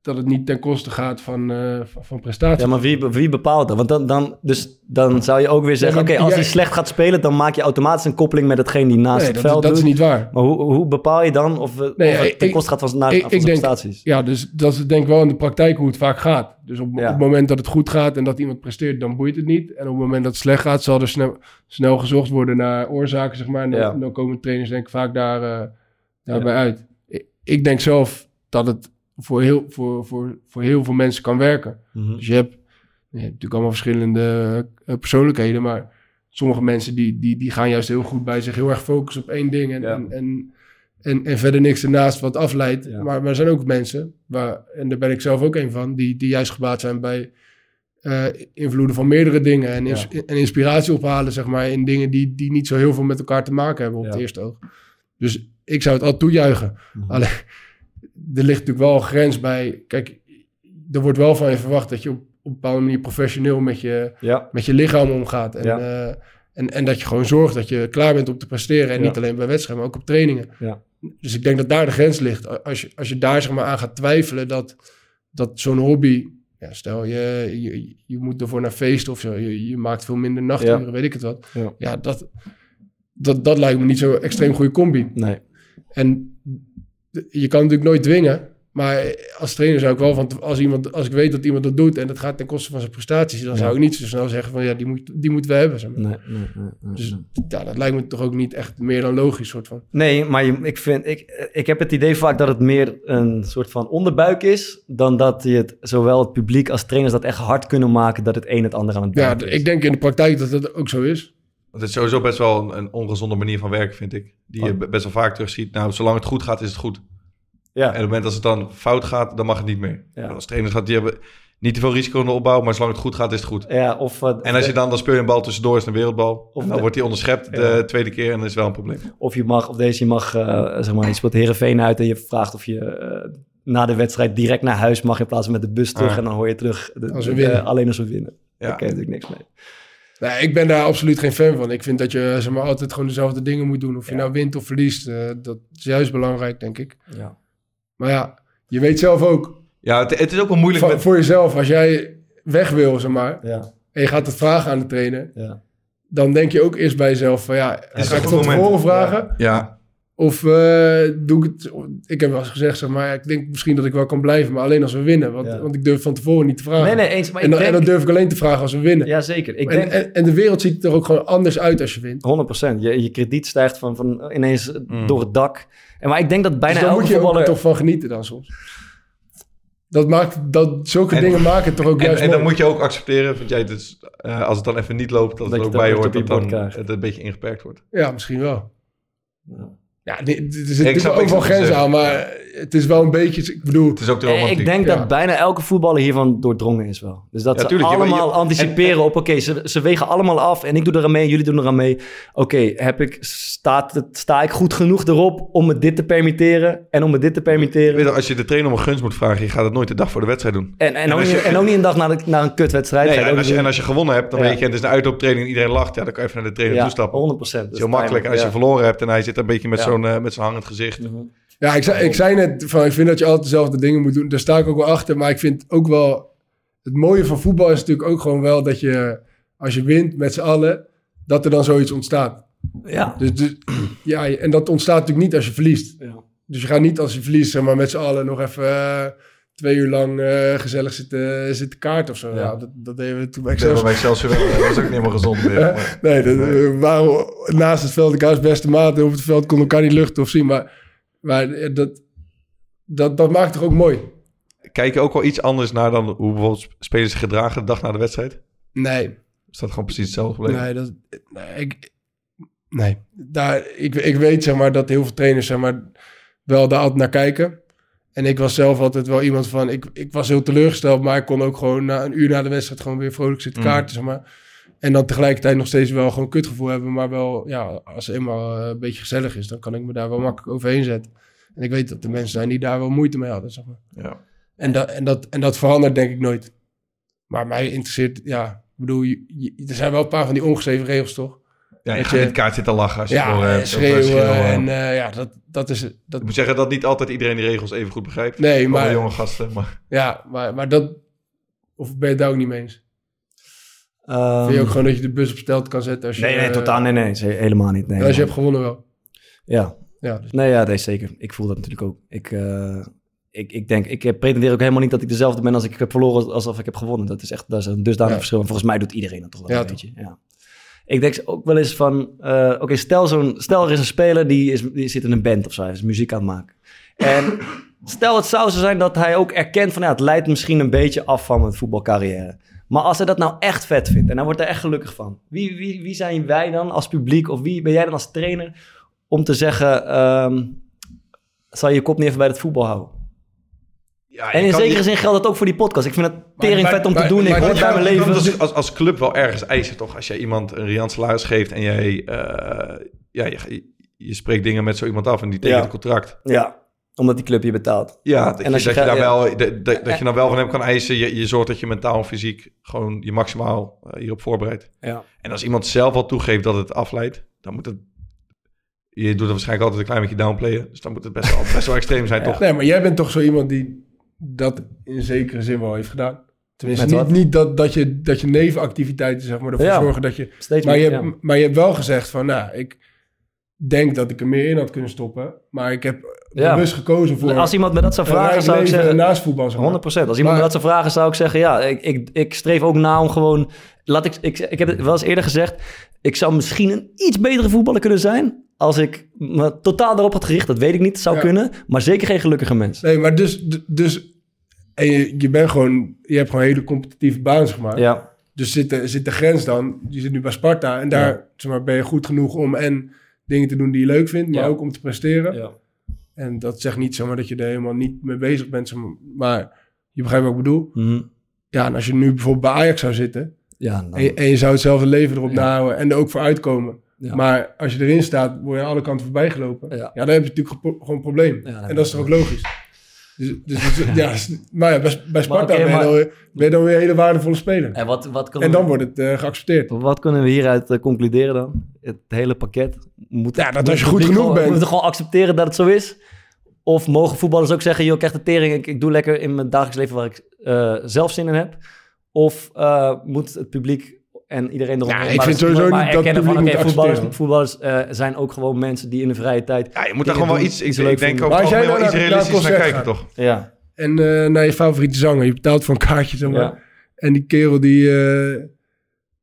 E: dat het niet ten koste gaat van, eh, van, van prestatie.
B: Ja, maar wie, be- wie bepaalt dat? Want dan, dan, dus dan zou je ook weer zeggen:
E: Ja, maar
B: oké, als
E: jij-
B: hij slecht gaat spelen, dan maak je automatisch een koppeling met hetgeen die naast
E: Nee,
B: het
E: dat-
B: veld
E: dat
B: doet.
E: is niet waar.
B: Maar hoe, hoe bepaal je dan of, we, of het ten koste gaat van, zijn- naar,
E: ik-
B: van
E: ik
B: zijn
E: denk-
B: prestaties?
E: Ja, dus dat is denk ik wel in de praktijk hoe het vaak gaat. Dus op, op het moment dat het goed gaat en dat iemand presteert, dan boeit het niet. En op het moment dat het slecht gaat, zal er snel, snel gezocht worden naar oorzaken, zeg maar. En dan,
B: Ja.
E: dan komen trainers denk ik vaak daar, eh, daarbij uit. Ik, ik denk zelf dat het voor heel, voor, voor, voor heel veel mensen kan werken.
B: Mhm.
E: Dus je hebt, je hebt natuurlijk allemaal verschillende eh, persoonlijkheden, maar sommige mensen die, die, die gaan juist heel goed bij zich heel erg focussen op één ding en, en, en, en, en verder niks ernaast wat afleidt. Maar, maar er zijn ook mensen, waar, en daar ben ik zelf ook een van, die, die juist gebaat zijn bij eh, invloeden van meerdere dingen en, ins- en inspiratie ophalen, zeg maar, in dingen die, die niet zo heel veel met elkaar te maken hebben op het eerste oog. Dus ik zou het al toejuichen. Alleen, er ligt natuurlijk wel een grens bij. Kijk, er wordt wel van je verwacht dat je op, op een bepaalde manier professioneel met je,
B: Ja.
E: met je lichaam omgaat. En,
B: Ja.
E: eh, en, en dat je gewoon zorgt dat je klaar bent om te presteren. En
B: Ja.
E: niet alleen bij wedstrijden, maar ook op trainingen.
B: Ja.
E: Dus ik denk dat daar de grens ligt. A- Als je, als je daar zeg maar, aan gaat twijfelen dat, dat zo'n hobby... Ja, stel, je, je, je moet ervoor naar feesten of zo. Je, je maakt veel minder nachturen,
B: Ja.
E: weet ik het wat.
B: Ja.
E: dat, dat, dat lijkt me niet zo'n extreem goede combi.
B: Nee.
E: En d- je kan natuurlijk nooit dwingen. Maar als trainer zou ik wel van... Als, iemand, als ik weet dat iemand dat doet en dat gaat ten koste van zijn prestaties... dan
B: Ja.
E: zou ik niet zo snel zeggen van... ja, die, moet, die moeten we hebben. Zeg maar.
B: Nee, nee, nee, nee,
E: dus
B: nee.
E: ja, dat lijkt me toch ook niet echt meer dan logisch soort van.
B: Nee, maar je- ik, vind, ik, ik heb het idee vaak dat het meer een soort van onderbuik is... dan dat je het, zowel het publiek als trainers dat echt hard kunnen maken... dat het een het ander aan het
E: Ja,
B: doen
E: d- ik denk in de praktijk dat dat ook zo is.
I: Want het is sowieso best wel een, een ongezonde manier van werken, vind ik. Die je
B: Oh.
I: be- best wel vaak terugziet. Nou, zolang het goed gaat, is het goed.
B: Ja.
I: En op het moment dat het dan fout gaat, dan mag het niet meer.
B: Ja.
I: Maar Als trainers gaat, die hebben niet te veel risico in de opbouw, maar zolang het goed gaat, is het goed.
B: Ja, of, eh,
I: en als je dan, dan speel je een bal tussendoor, is het een wereldbal.
B: Of
I: Of dan
B: de-
I: wordt die onderschept
B: Ja.
I: de tweede keer en dat is wel een probleem.
B: Of je mag, of deze, je mag, eh, zeg maar, je speelt Herenveen uit en je vraagt of je eh, na de wedstrijd direct naar huis mag in plaats van met de bus terug.
E: Ah.
B: En dan hoor je terug de-
E: Als we
B: de-
E: winnen.
B: eh, alleen als we winnen.
I: Ja.
B: Daar ken je natuurlijk niks mee.
E: Nee, Nou, ik ben daar absoluut geen fan van. Ik vind dat je zeg maar, altijd gewoon dezelfde dingen moet doen. Of je nou wint of verliest. eh, dat is juist belangrijk, denk ik.
B: Ja.
E: Maar ja, je weet zelf ook...
I: Ja, het, het is ook wel moeilijk
E: Voor,
I: met-
E: voor jezelf, als jij weg wil, zeg maar...
B: Ja.
E: en je gaat het vragen aan de trainer...
B: Ja.
E: dan denk je ook eerst bij jezelf van... ja,
I: Is
E: ga
I: het
E: ik
I: een
E: het
I: goed
E: van
I: moment?
E: tevoren vragen?
I: Ja,
E: Of eh, doe ik het... Ik heb wel eens gezegd, zeg maar... ik denk misschien dat ik wel kan blijven... maar alleen als we winnen. Want, want ik durf van tevoren niet te
I: Ah.
E: vragen.
B: Nee, nee, eens, maar
E: en,
B: ik
E: dan, en dan
B: denk-
E: durf ik alleen te vragen als we winnen.
B: Jazeker. Ik
E: en,
B: denk-
E: en, en de wereld ziet er ook gewoon anders uit als je wint.
B: 100%. Je, je krediet stijgt van, van ineens
I: Mm.
B: door het dak. En, maar ik denk dat bijna
E: dus dan
B: elke
E: moet je
B: voetballer...
E: er toch van genieten dan soms. Dat maakt, dat, zulke
I: En-
E: dingen maken het toch ook
I: en,
E: juist
I: en dan
E: mooi.
I: moet je ook accepteren, want jij, dus, eh, als het dan even niet loopt, dat,
B: je
I: het ook
B: dat
I: bij je
B: echt op je
I: hoort, dat
B: bord Eh,
I: dan
B: krijgt.
I: het een beetje ingeperkt wordt.
E: Ja, misschien wel. Ja, nee, er zit
I: snap- ik
E: natuurlijk ook
I: snap
E: wel
I: wat je
E: grenzen
I: zegt.
E: aan, maar het is wel een beetje... Ik bedoel... Het
I: is ook
B: Ik denk dat bijna elke voetballer hiervan doordrongen is wel. Dus dat
E: Ja,
B: ze
E: tuurlijk, je-
B: allemaal
E: je-
B: anticiperen op... oké, ze, ze wegen allemaal af en ik doe er aan mee, jullie doen er aan mee. Oké, heb ik staat het- sta ik goed genoeg erop om me dit te permitteren en om me dit te permitteren?
I: Weet je, als je de trainer om een guns moet vragen, je gaat het nooit de dag voor de wedstrijd doen.
B: En, en, ook,
I: als
B: niet,
I: je-
B: en ook niet een dag na, de- na een kutwedstrijd.
I: Nee,
B: Ga je
I: en
B: ook
I: als, je,
B: niet
I: en als je gewonnen hebt, dan
B: Ja.
I: weet je, het is een uitlooptraining en iedereen lacht. Ja, dan kan je even naar de trainer
B: Ja,
I: toestappen.
B: 100%.
I: Het
B: Dat
I: is
B: is
I: heel makkelijk.
B: timing,
I: als je
B: ja.
I: verloren hebt en hij zit een beetje met
B: Ja.
I: zo'n eh, met zo'n hangend gezicht.
E: Ja, ik zei, ik zei net van, ik vind dat je altijd dezelfde dingen moet doen. Daar sta ik ook wel achter. Maar ik vind ook wel, het mooie van voetbal is natuurlijk ook gewoon wel dat je, als je wint met z'n allen, dat er dan zoiets ontstaat.
B: Ja.
E: Dus, dus- [clears throat] ja, en dat ontstaat natuurlijk niet als je verliest. Dus je gaat niet als je verliest, zeg maar, met z'n allen nog even eh, twee uur lang eh, gezellig zitten, zitten kaart of zo. Ja. dat, dat deden we toen bij
I: Ik denk wel
E: Excelsior.
I: bij Excelsior wel. eh, Dat was ook niet helemaal gezond meer.
E: Eh,
I: Maar-
E: nee, dat, we waren naast het veld elkaars beste maat. En op het veld kon elkaar niet luchten of zien. Maar, maar eh, dat, dat, dat maakt toch ook mooi?
I: Kijk je ook wel iets anders naar dan hoe bijvoorbeeld spelers zich gedragen de dag na de wedstrijd?
E: Nee.
I: Is dat gewoon precies hetzelfde gebleven?
E: Nee, dat, nee, ik, nee. Daar, ik, ik weet zeg maar, dat heel veel trainers zeg maar, wel daar altijd naar kijken. En ik was zelf altijd wel iemand van... Ik, ik was heel teleurgesteld, maar ik kon ook gewoon na een uur na de wedstrijd... gewoon weer vrolijk zitten
B: Mm.
E: kaarten, zeg maar. En dan tegelijkertijd nog steeds wel gewoon kutgevoel hebben. Maar wel, ja, als het eenmaal eh, een beetje gezellig is... dan kan ik me daar wel makkelijk overheen zetten. En ik weet dat er mensen zijn die daar wel moeite mee hadden, zeg maar.
I: Ja.
E: En, dat en, dat, en dat verandert denk ik nooit. Maar mij interesseert, ja... Ik bedoel, je- je- er zijn wel een paar van die ongeschreven regels, toch?
I: Ja, je
E: Dat
I: gaat in het kaart zitten lachen als je
E: ja,
I: verloren
E: eh,
I: hebt.
E: schreeuwen
I: Of, eh, schreeuwen.
E: en eh, ja, dat, dat is... Dat,
I: Ik moet zeggen dat niet altijd iedereen die regels even goed begrijpt.
E: Nee,
I: Allemaal
E: maar-
I: jonge gasten, maar...
E: ja, maar, maar dat... Of ben je het daar ook niet mee eens? Vind je ook gewoon dat je de bus op stelt kan zetten als je...
B: Ehm. Nee, nee,
E: eh,
B: totaal. Nee, nee, ze- helemaal niet. Nee,
E: en als je
B: man.
E: hebt gewonnen wel.
B: Ja.
E: Ja, dus-
B: Nee, ja, nee, zeker. Ik voel dat natuurlijk ook. Ik, eh, ik, ik denk, ik eh, pretendeer ook helemaal niet dat ik dezelfde ben als ik heb verloren alsof ik heb gewonnen. Dat is echt, dat is een dusdanig
E: Ja.
B: verschil. En volgens mij doet iedereen dat toch wel
E: Ja,
B: een
E: toch.
B: beetje. Ja. Ik denk ook wel eens van, eh, oké, stel, zo'n, stel er is een speler die, is, die zit in een band of zo, hij is muziek aan het maken.
E: [laughs]
B: En stel het zou zo zijn dat hij ook erkent van, ja, het leidt misschien een beetje af van mijn voetbalcarrière. Maar als hij dat nou echt vet vindt en hij wordt er echt gelukkig van, wie, wie, wie zijn wij dan als publiek of wie ben jij dan als trainer om te zeggen, ehm zal je je kop niet even bij het voetbal houden?
I: je
B: en in
I: kan
B: zekere
I: niet-
B: zin geldt dat ook voor die podcast. Ik vind het tering
I: Maar-
B: vet om
I: maar-
B: te doen. Ik
I: maar-
B: hoor het
I: maar-
B: bij mijn
I: maar-
B: leven.
I: dat is als, als club wel ergens eisen, toch? Als jij iemand een riant salaris geeft en jij... eh, ja, je, je spreekt dingen met zo iemand af en die tekent
B: Ja.
I: een contract.
B: Ja, omdat die club je betaalt.
I: Ja, dat,
B: als
I: je, dat,
B: je
I: je,
B: ga-
I: daar
B: ja.
I: wel, dat, dat, dat je dan wel van hem kan eisen. Je, je zorgt dat je mentaal en fysiek gewoon je maximaal eh, hierop voorbereidt.
B: Ja.
I: En als iemand zelf al toegeeft dat het afleidt, dan moet het... Je doet het waarschijnlijk altijd een klein beetje downplayen. Dus dan moet het best wel, best wel extreem zijn, toch?
E: Nee, maar jij bent toch zo iemand die dat in zekere zin wel heeft gedaan. Tenminste,
I: Met
E: niet,
I: wat?
E: niet dat, dat, je, dat je nevenactiviteiten, zeg maar, ervoor
B: Ja,
E: zorgen dat je...
B: steeds
E: maar,
B: meer,
E: je hebt,
B: ja.
E: maar je hebt wel gezegd van, nou, ik denk dat ik er meer in had kunnen stoppen. Maar ik heb
B: Ja.
E: bewust gekozen voor...
B: Als iemand me dat zou
E: een
B: vragen,
E: rijk
B: zou ik
E: leven
B: zeggen...
E: Naast voetbal, zeg maar.
B: 100 Als iemand me dat zou vragen, zou ik zeggen... Ja, ik, ik, ik streef ook na om gewoon... Laat ik, ik, ik heb het wel eens eerder gezegd... Ik zou misschien een iets betere voetballer kunnen zijn... als ik me totaal daarop had gericht. Dat weet ik niet, zou kunnen. Maar zeker geen gelukkiger mens.
E: Nee, maar dus... d- dus en je, je bent gewoon... Je hebt gewoon een hele competitieve baan, zeg maar.
B: Ja.
E: Dus zit de, zit de grens dan... Je zit nu bij Sparta en daar
B: Ja.
E: zeg maar, ben je goed genoeg om... en dingen te doen die je leuk vindt, maar
B: Ja.
E: ook om te presteren.
B: Ja.
E: En dat zegt niet zomaar dat je er helemaal niet mee bezig bent. zeg maar- Maar je begrijpt wat ik bedoel.
B: Mhm.
E: Ja, en als je nu bijvoorbeeld bij Ajax zou zitten...
B: Ja, dan-
E: en, je, en je zou hetzelfde leven erop nahouden en er ook voor uitkomen... Maar als je erin staat, word je aan alle kanten voorbij gelopen. Ja, dan heb je natuurlijk gepo- gewoon een probleem. en dat is toch ook logisch? Dus, dus,
B: [laughs]
E: dus- ja, s- maar ja, bij, bij Sparta
B: oké,
E: ben, je
B: maar-
E: dan, weer- ben je dan weer een hele waardevolle speler.
B: En, wat, wat
E: en dan wordt het eh, geaccepteerd.
B: Wat kunnen we hieruit eh, concluderen dan? Het hele pakket. Moet, ja,
E: dat als je goed genoeg bent.
B: Moeten we gewoon accepteren dat het zo is? Of mogen voetballers ook zeggen, joh, ik krijg de tering. Ik, ik doe lekker in mijn dagelijks leven waar ik eh, zelf zin in heb. Of eh, moet het publiek en iedereen eromheen...
E: ik vind sowieso niet dat het
B: erkennen van,
E: publiek
B: oké,
E: moet
B: voetballers,
E: accepteren.
B: voetballers eh, zijn ook gewoon mensen die in de vrije tijd... Ja,
I: je moet daar gewoon wel iets- ik- ik denk ook
E: Maar als jij
I: algemeen
E: nou
I: wel
E: naar-
I: iets
E: naar een
I: realistisch naar
E: concert
I: kijken,
E: gaat.
I: toch?
B: Ja.
E: En eh, naar je favoriete zanger. Je betaalt voor een kaartje, zeg maar.
B: Ja.
E: En die kerel die, eh,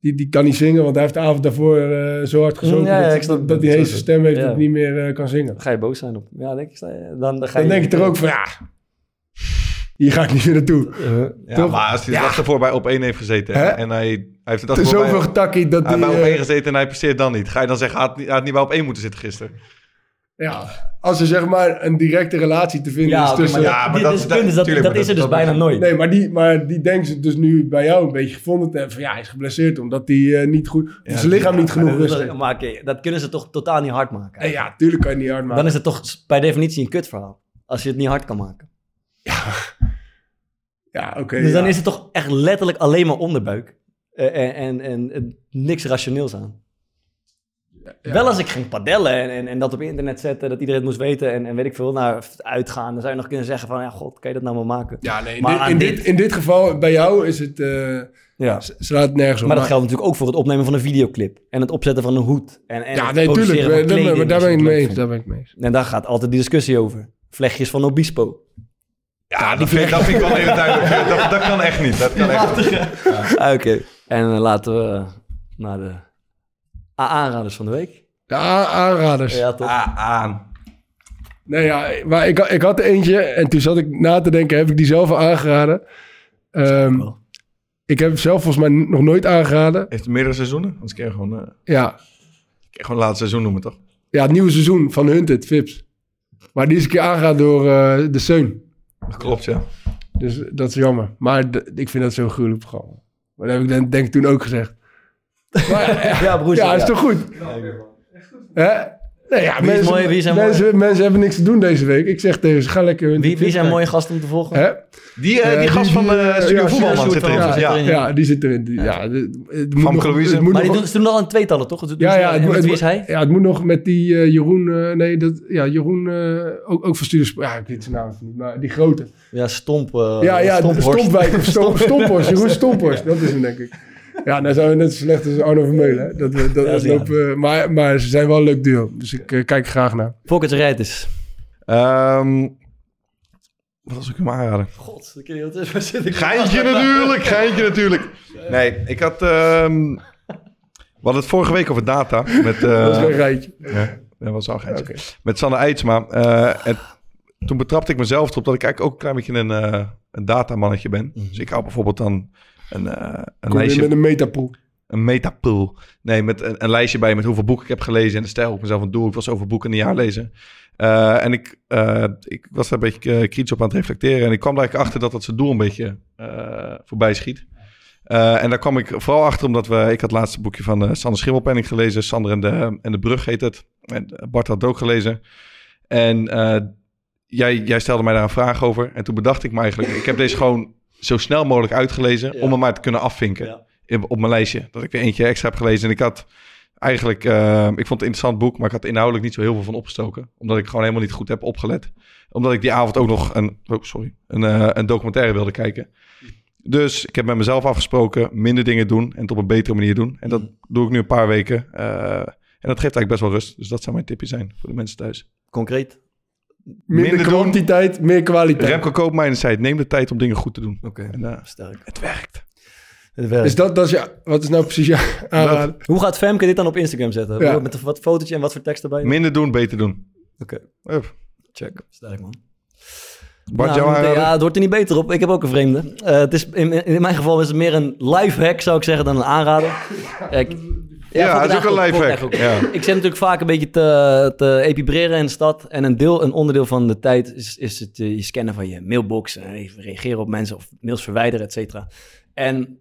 E: die, die kan niet zingen, want hij heeft de avond daarvoor eh, zo hard gezongen...
B: Mm, Ja, ja, ik
E: dat,
B: snap
E: dat,
B: het.
E: die
B: Zo
E: hele
B: is het.
E: stem heeft
B: Ja.
E: dat hij niet meer eh, kan zingen.
B: Ga je boos zijn op... Ja, denk ik, dan, dan, ga
E: Dan
B: je,
E: denk je er ook van, ja, hier ga ik niet meer naartoe.
I: Ja,
E: Toch?
I: maar als hij de
E: Ja.
I: dag ervoor bij op één heeft gezeten
E: Hè?
I: en hij, hij heeft de dag
E: Het is
I: ervoor
E: zoveel
I: bij-
E: getakkie dat
I: hij
E: die,
I: bij Ah, op
E: eh,
I: één gezeten en hij presteert dan niet. Ga je dan zeggen, hij had, niet- hij had niet bij op één moeten zitten gisteren?
E: Ja, als er zeg maar een directe relatie te vinden
I: Ja,
E: is
I: oké,
E: tussen...
I: maar ja, maar Dit dat- is het dat- punt, is dat- tuurlijk, dat maar is er dat- dus dat- bijna nooit.
E: Nee, maar die, maar die denkt ze dus nu bij jou een beetje gevonden te hebben. Van, ja, hij is geblesseerd omdat hij eh, niet goed...
B: Ja,
E: zijn lichaam niet
B: maar
E: genoeg
B: dat-
E: rust
B: dat-
E: geeft.
B: Maar oké, dat kunnen ze toch totaal niet hard maken?
E: Nee, ja, tuurlijk kan je het niet hard maken.
B: Dan is het toch s- bij definitie een kutverhaal. Als je het niet hard kan maken.
E: Ja, oké.
B: dus dan
E: ja.
B: is het toch echt letterlijk alleen maar onderbuik. Eh, En, en, en, en niks rationeels aan. Wel als ik ging padellen en, en, en dat op internet zetten, dat iedereen het moest weten en, en weet ik veel, naar uitgaan, dan zou je nog kunnen zeggen van, ja god, kan je dat nou maar maken?
E: Ja, nee,
B: maar
E: in,
B: aan
E: dit, in, dit, in dit geval, bij jou is het... eh,
B: Ja.
E: Ze ze laat het nergens op.
B: Maar dat geldt natuurlijk ook voor het opnemen van een videoclip en het opzetten van een hoed. En, en
E: Ja,
B: het
E: nee,
B: produceren
E: tuurlijk.
B: van
E: eh, dat-
B: kleding
E: maar Daar
B: als
E: ben
B: je
E: ik
B: het leuk
E: mee eens.
B: vindt.
E: Daar ben ik mee eens.
B: En daar gaat altijd die discussie over. Vlechtjes van Obispo.
I: Ja, dat vind, dat vind ik wel even duidelijk. Dat, dat kan echt niet. Dat kan echt niet.
B: Ah, Oké. En eh, laten we eh, naar de a- aanraders van de week.
E: De a- aanraders.
B: Ja, toch?
E: Ah,
I: aan.
E: Nee, ja, maar ik, ik had er eentje en toen zat ik na te denken, heb ik die zelf al aangeraden? Ehm, ik heb hem zelf volgens mij nog nooit aangeraden.
I: Heeft het meerdere seizoenen? Anders kun je gewoon, eh, kun
E: Ja,
I: je gewoon het laatste seizoen noemen, toch?
E: ja, het nieuwe seizoen van Hunted, Vips. Maar die is een keer aangeraden door eh, de Seun.
I: Dat klopt, ja.
E: Dus dat is jammer. Maar d- ik vind dat zo'n gruwelijk programma. Maar dat heb ik dan, denk ik toen ook gezegd.
B: [laughs] ja, broer.
E: ja, is toch goed? Hè? Nee, ja,
B: Wie is mooi, wie zijn mooi?
E: mensen, mensen hebben niks te doen deze week. Ik zeg tegen ze, ga lekker Hunted
B: Wie, wie
E: Vips
B: zijn mooie
E: kijken.
B: gasten om te volgen?
E: Hè?
I: Die, eh,
E: Eh,
I: die gast van
E: eh,
I: eh Studio
E: ja,
I: Voetbalman
E: Sjoerd
I: zit
E: van
I: erin.
E: Gaal.
I: Ja,
E: Ja,
I: ja.
E: ja, die zit erin. Die- Ja, het, het moet
I: Van
E: nog,
I: Louise.
E: het moet
B: maar die
E: nog-
B: doen, ze doen al in tweetallen, toch? Dus
E: ja, ja,
B: en
E: het, moet-
B: wie
E: het
B: is
E: moet-
B: hij?
E: Ja, het moet nog met die eh, Jeroen... eh, nee, dat, ja, Jeroen eh, ook, ook van Studio... Sp- Ja, ik weet zijn naam even niet, maar die grote.
B: Ja, Stomp. eh,
E: ja,
B: [laughs]
E: ja,
B: Stomphorst.
E: Stompwijk of Stom- Stomphorst. Jeroen Stomphorst, dat is hem denk ik. Ja, nou zijn we net zo slecht als Arno Vermeulen. hè. Dat, we- dat,
B: Ja,
E: dat
B: is waar.
E: lopen, eh, maar, maar ze zijn wel een leuk duo, dus ik eh, kijk er graag naar.
B: Pocket Rijders.
I: Ehm, wat was ik hem aanraden?
B: God, ik weet niet waar zit ik
I: Geintje natuurlijk, geintje natuurlijk. Nee, ik had... ehm, We hadden het vorige week over data. Met, eh,
E: Dat was een geitje.
I: Ja, dat was al een geitje.
E: Oké.
I: Met Sanne Eidsma. eh, en toen betrapte ik mezelf erop dat ik eigenlijk ook een klein beetje een, eh, een datamannetje ben. Dus ik hou bijvoorbeeld dan een, eh een
E: Kom je
I: lijstje...
E: met een metapool.
I: Een metapool. Nee, met een, een lijstje bij met hoeveel boeken ik heb gelezen. En de stijl op mezelf een doel. Ik was over boeken in een jaar lezen. Eh, en ik, eh, ik was daar een beetje eh, kritisch op aan het reflecteren. En ik kwam daar eigenlijk achter dat dat zijn doel een beetje eh, voorbij schiet. Eh, en daar kwam ik vooral achter omdat we... Ik had het laatste boekje van eh, Sander Schimmelpenning gelezen. Sander en de, en de Brug heet het. En eh, Bart had het ook gelezen. En eh, jij, jij stelde mij daar een vraag over. En toen bedacht ik me eigenlijk... Ik heb deze gewoon zo snel mogelijk uitgelezen... om hem maar te kunnen afvinken in- op mijn lijstje. Dat ik er eentje extra heb gelezen. En ik had eigenlijk, eh, ik vond het een interessant boek, maar ik had er inhoudelijk niet zo heel veel van opgestoken. Omdat ik gewoon helemaal niet goed heb opgelet. Omdat ik die avond ook nog een, oh, sorry, een, eh, een documentaire wilde kijken. Dus ik heb met mezelf afgesproken minder dingen doen en het op een betere manier doen.
B: Mm-hmm.
I: En dat doe ik nu een paar weken. eh, en dat geeft eigenlijk best wel rust. Dus dat zou mijn tipje zijn voor de mensen thuis.
B: Concreet?
E: Minder,
I: Minder doen.
E: kwantiteit, meer kwaliteit.
I: Remco Koopmeijer zei het, neem de tijd om dingen goed te doen.
B: Oké, sterk.
I: Het werkt.
B: Het werkt.
E: Dus dat, dat is ja, wat is nou precies ja, aanraden?
B: Hoe gaat Femke dit dan op Instagram zetten?
E: Ja.
B: Met een- wat fotootje en wat voor tekst erbij?
I: Minder doen, beter doen.
B: Oké.
I: Hup.
B: Check. Sterk man.
I: Bart,
B: Nou,
I: jouw
B: meteen-
I: aanrader?
B: ja, het wordt er niet beter op. Ik heb ook een vreemde. Eh, het is, in, in mijn geval is het meer een life hack, zou ik zeggen, dan een aanrader. Ik,
I: Ja,
B: vond
I: het is
B: ik
I: ook een
B: eigenlijk-
I: life
B: vond
I: hack,
B: ik eigenlijk ook.
I: ja.
B: Ik zit natuurlijk vaak een beetje te, te epibreren in de stad. En een, deel, een onderdeel van de tijd is, is het eh, je scannen van je mailbox. En even reageren op mensen of mails verwijderen, et cetera. En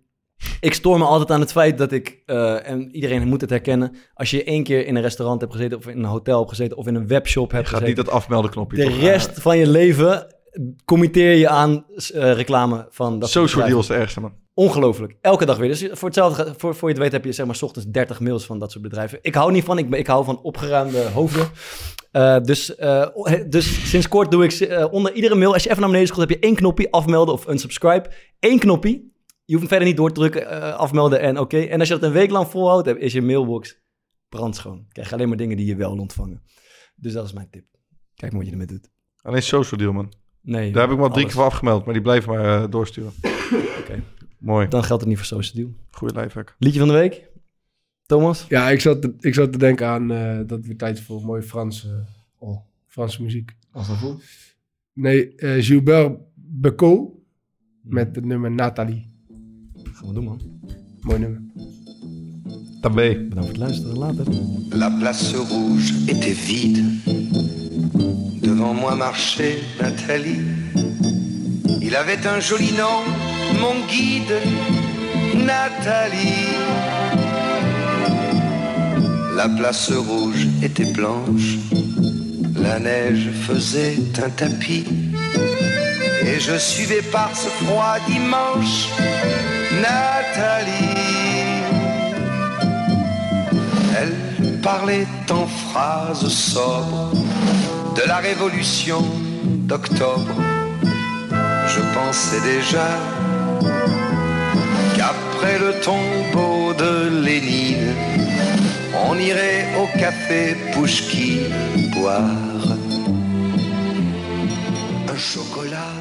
B: ik stoor me altijd aan het feit dat ik, eh, en iedereen moet het herkennen, als je één keer in een restaurant hebt gezeten, of in een hotel hebt gezeten, of in een webshop hebt
I: Je gaat
B: gezeten.
I: niet dat afmelden knopje.
B: De
I: toch? eh, Ah,
B: rest van je leven committeer je aan eh, reclame van dat soort
I: Social
B: bedrijven.
I: deal is de ergste, man.
B: Ongelooflijk. Elke dag weer. Dus voor, hetzelfde, ge- voor, voor je het weet heb je zeg maar 's ochtends 30 mails van dat soort bedrijven. Ik hou niet van. Ik, ben- ik hou van opgeruimde hoofden. Eh, dus, eh, o- he- dus sinds kort doe ik ze- eh, onder iedere mail, als je even naar beneden scrolt, heb je één knopje afmelden of unsubscribe. Eén knopje. Je hoeft hem verder niet door te drukken, eh, afmelden en oké. En als je dat een week lang volhoudt, heb- is je mailbox brandschoon. Krijg je alleen maar dingen die je wel wil ontvangen. Dus dat is mijn tip. Kijk maar wat je ermee doet.
I: Alleen social deal, man.
B: Nee,
I: Daar heb ik me al drie
B: alles.
I: keer voor afgemeld, maar die blijven maar eh, doorsturen.
B: Oké.
I: Mooi.
B: Dan geldt het niet voor social deal.
I: Goeie lifehack.
B: Liedje van de week? Thomas?
E: Ja, ik zat, te- ik zat te denken aan eh, dat het weer tijd is voor mooie Franse, oh, Franse muziek.
B: Als dat goed.
E: Nee, eh, Gilbert Becot met het nummer Nathalie.
B: Gaan we doen, man.
E: Mooi nummer.
I: Tabé.
B: Bedankt voor het luisteren. Later.
M: La place rouge était vide. Devant moi marchait Nathalie. Il avait un joli nom, mon guide, Nathalie. La place rouge était blanche. La neige faisait un tapis. Et je suivais par ce froid dimanche Nathalie. Elle parlait en phrases sobres de la révolution d'octobre. Je pensais déjà qu'après le tombeau de Lénine, on irait au café Pouchki boire un chocolat.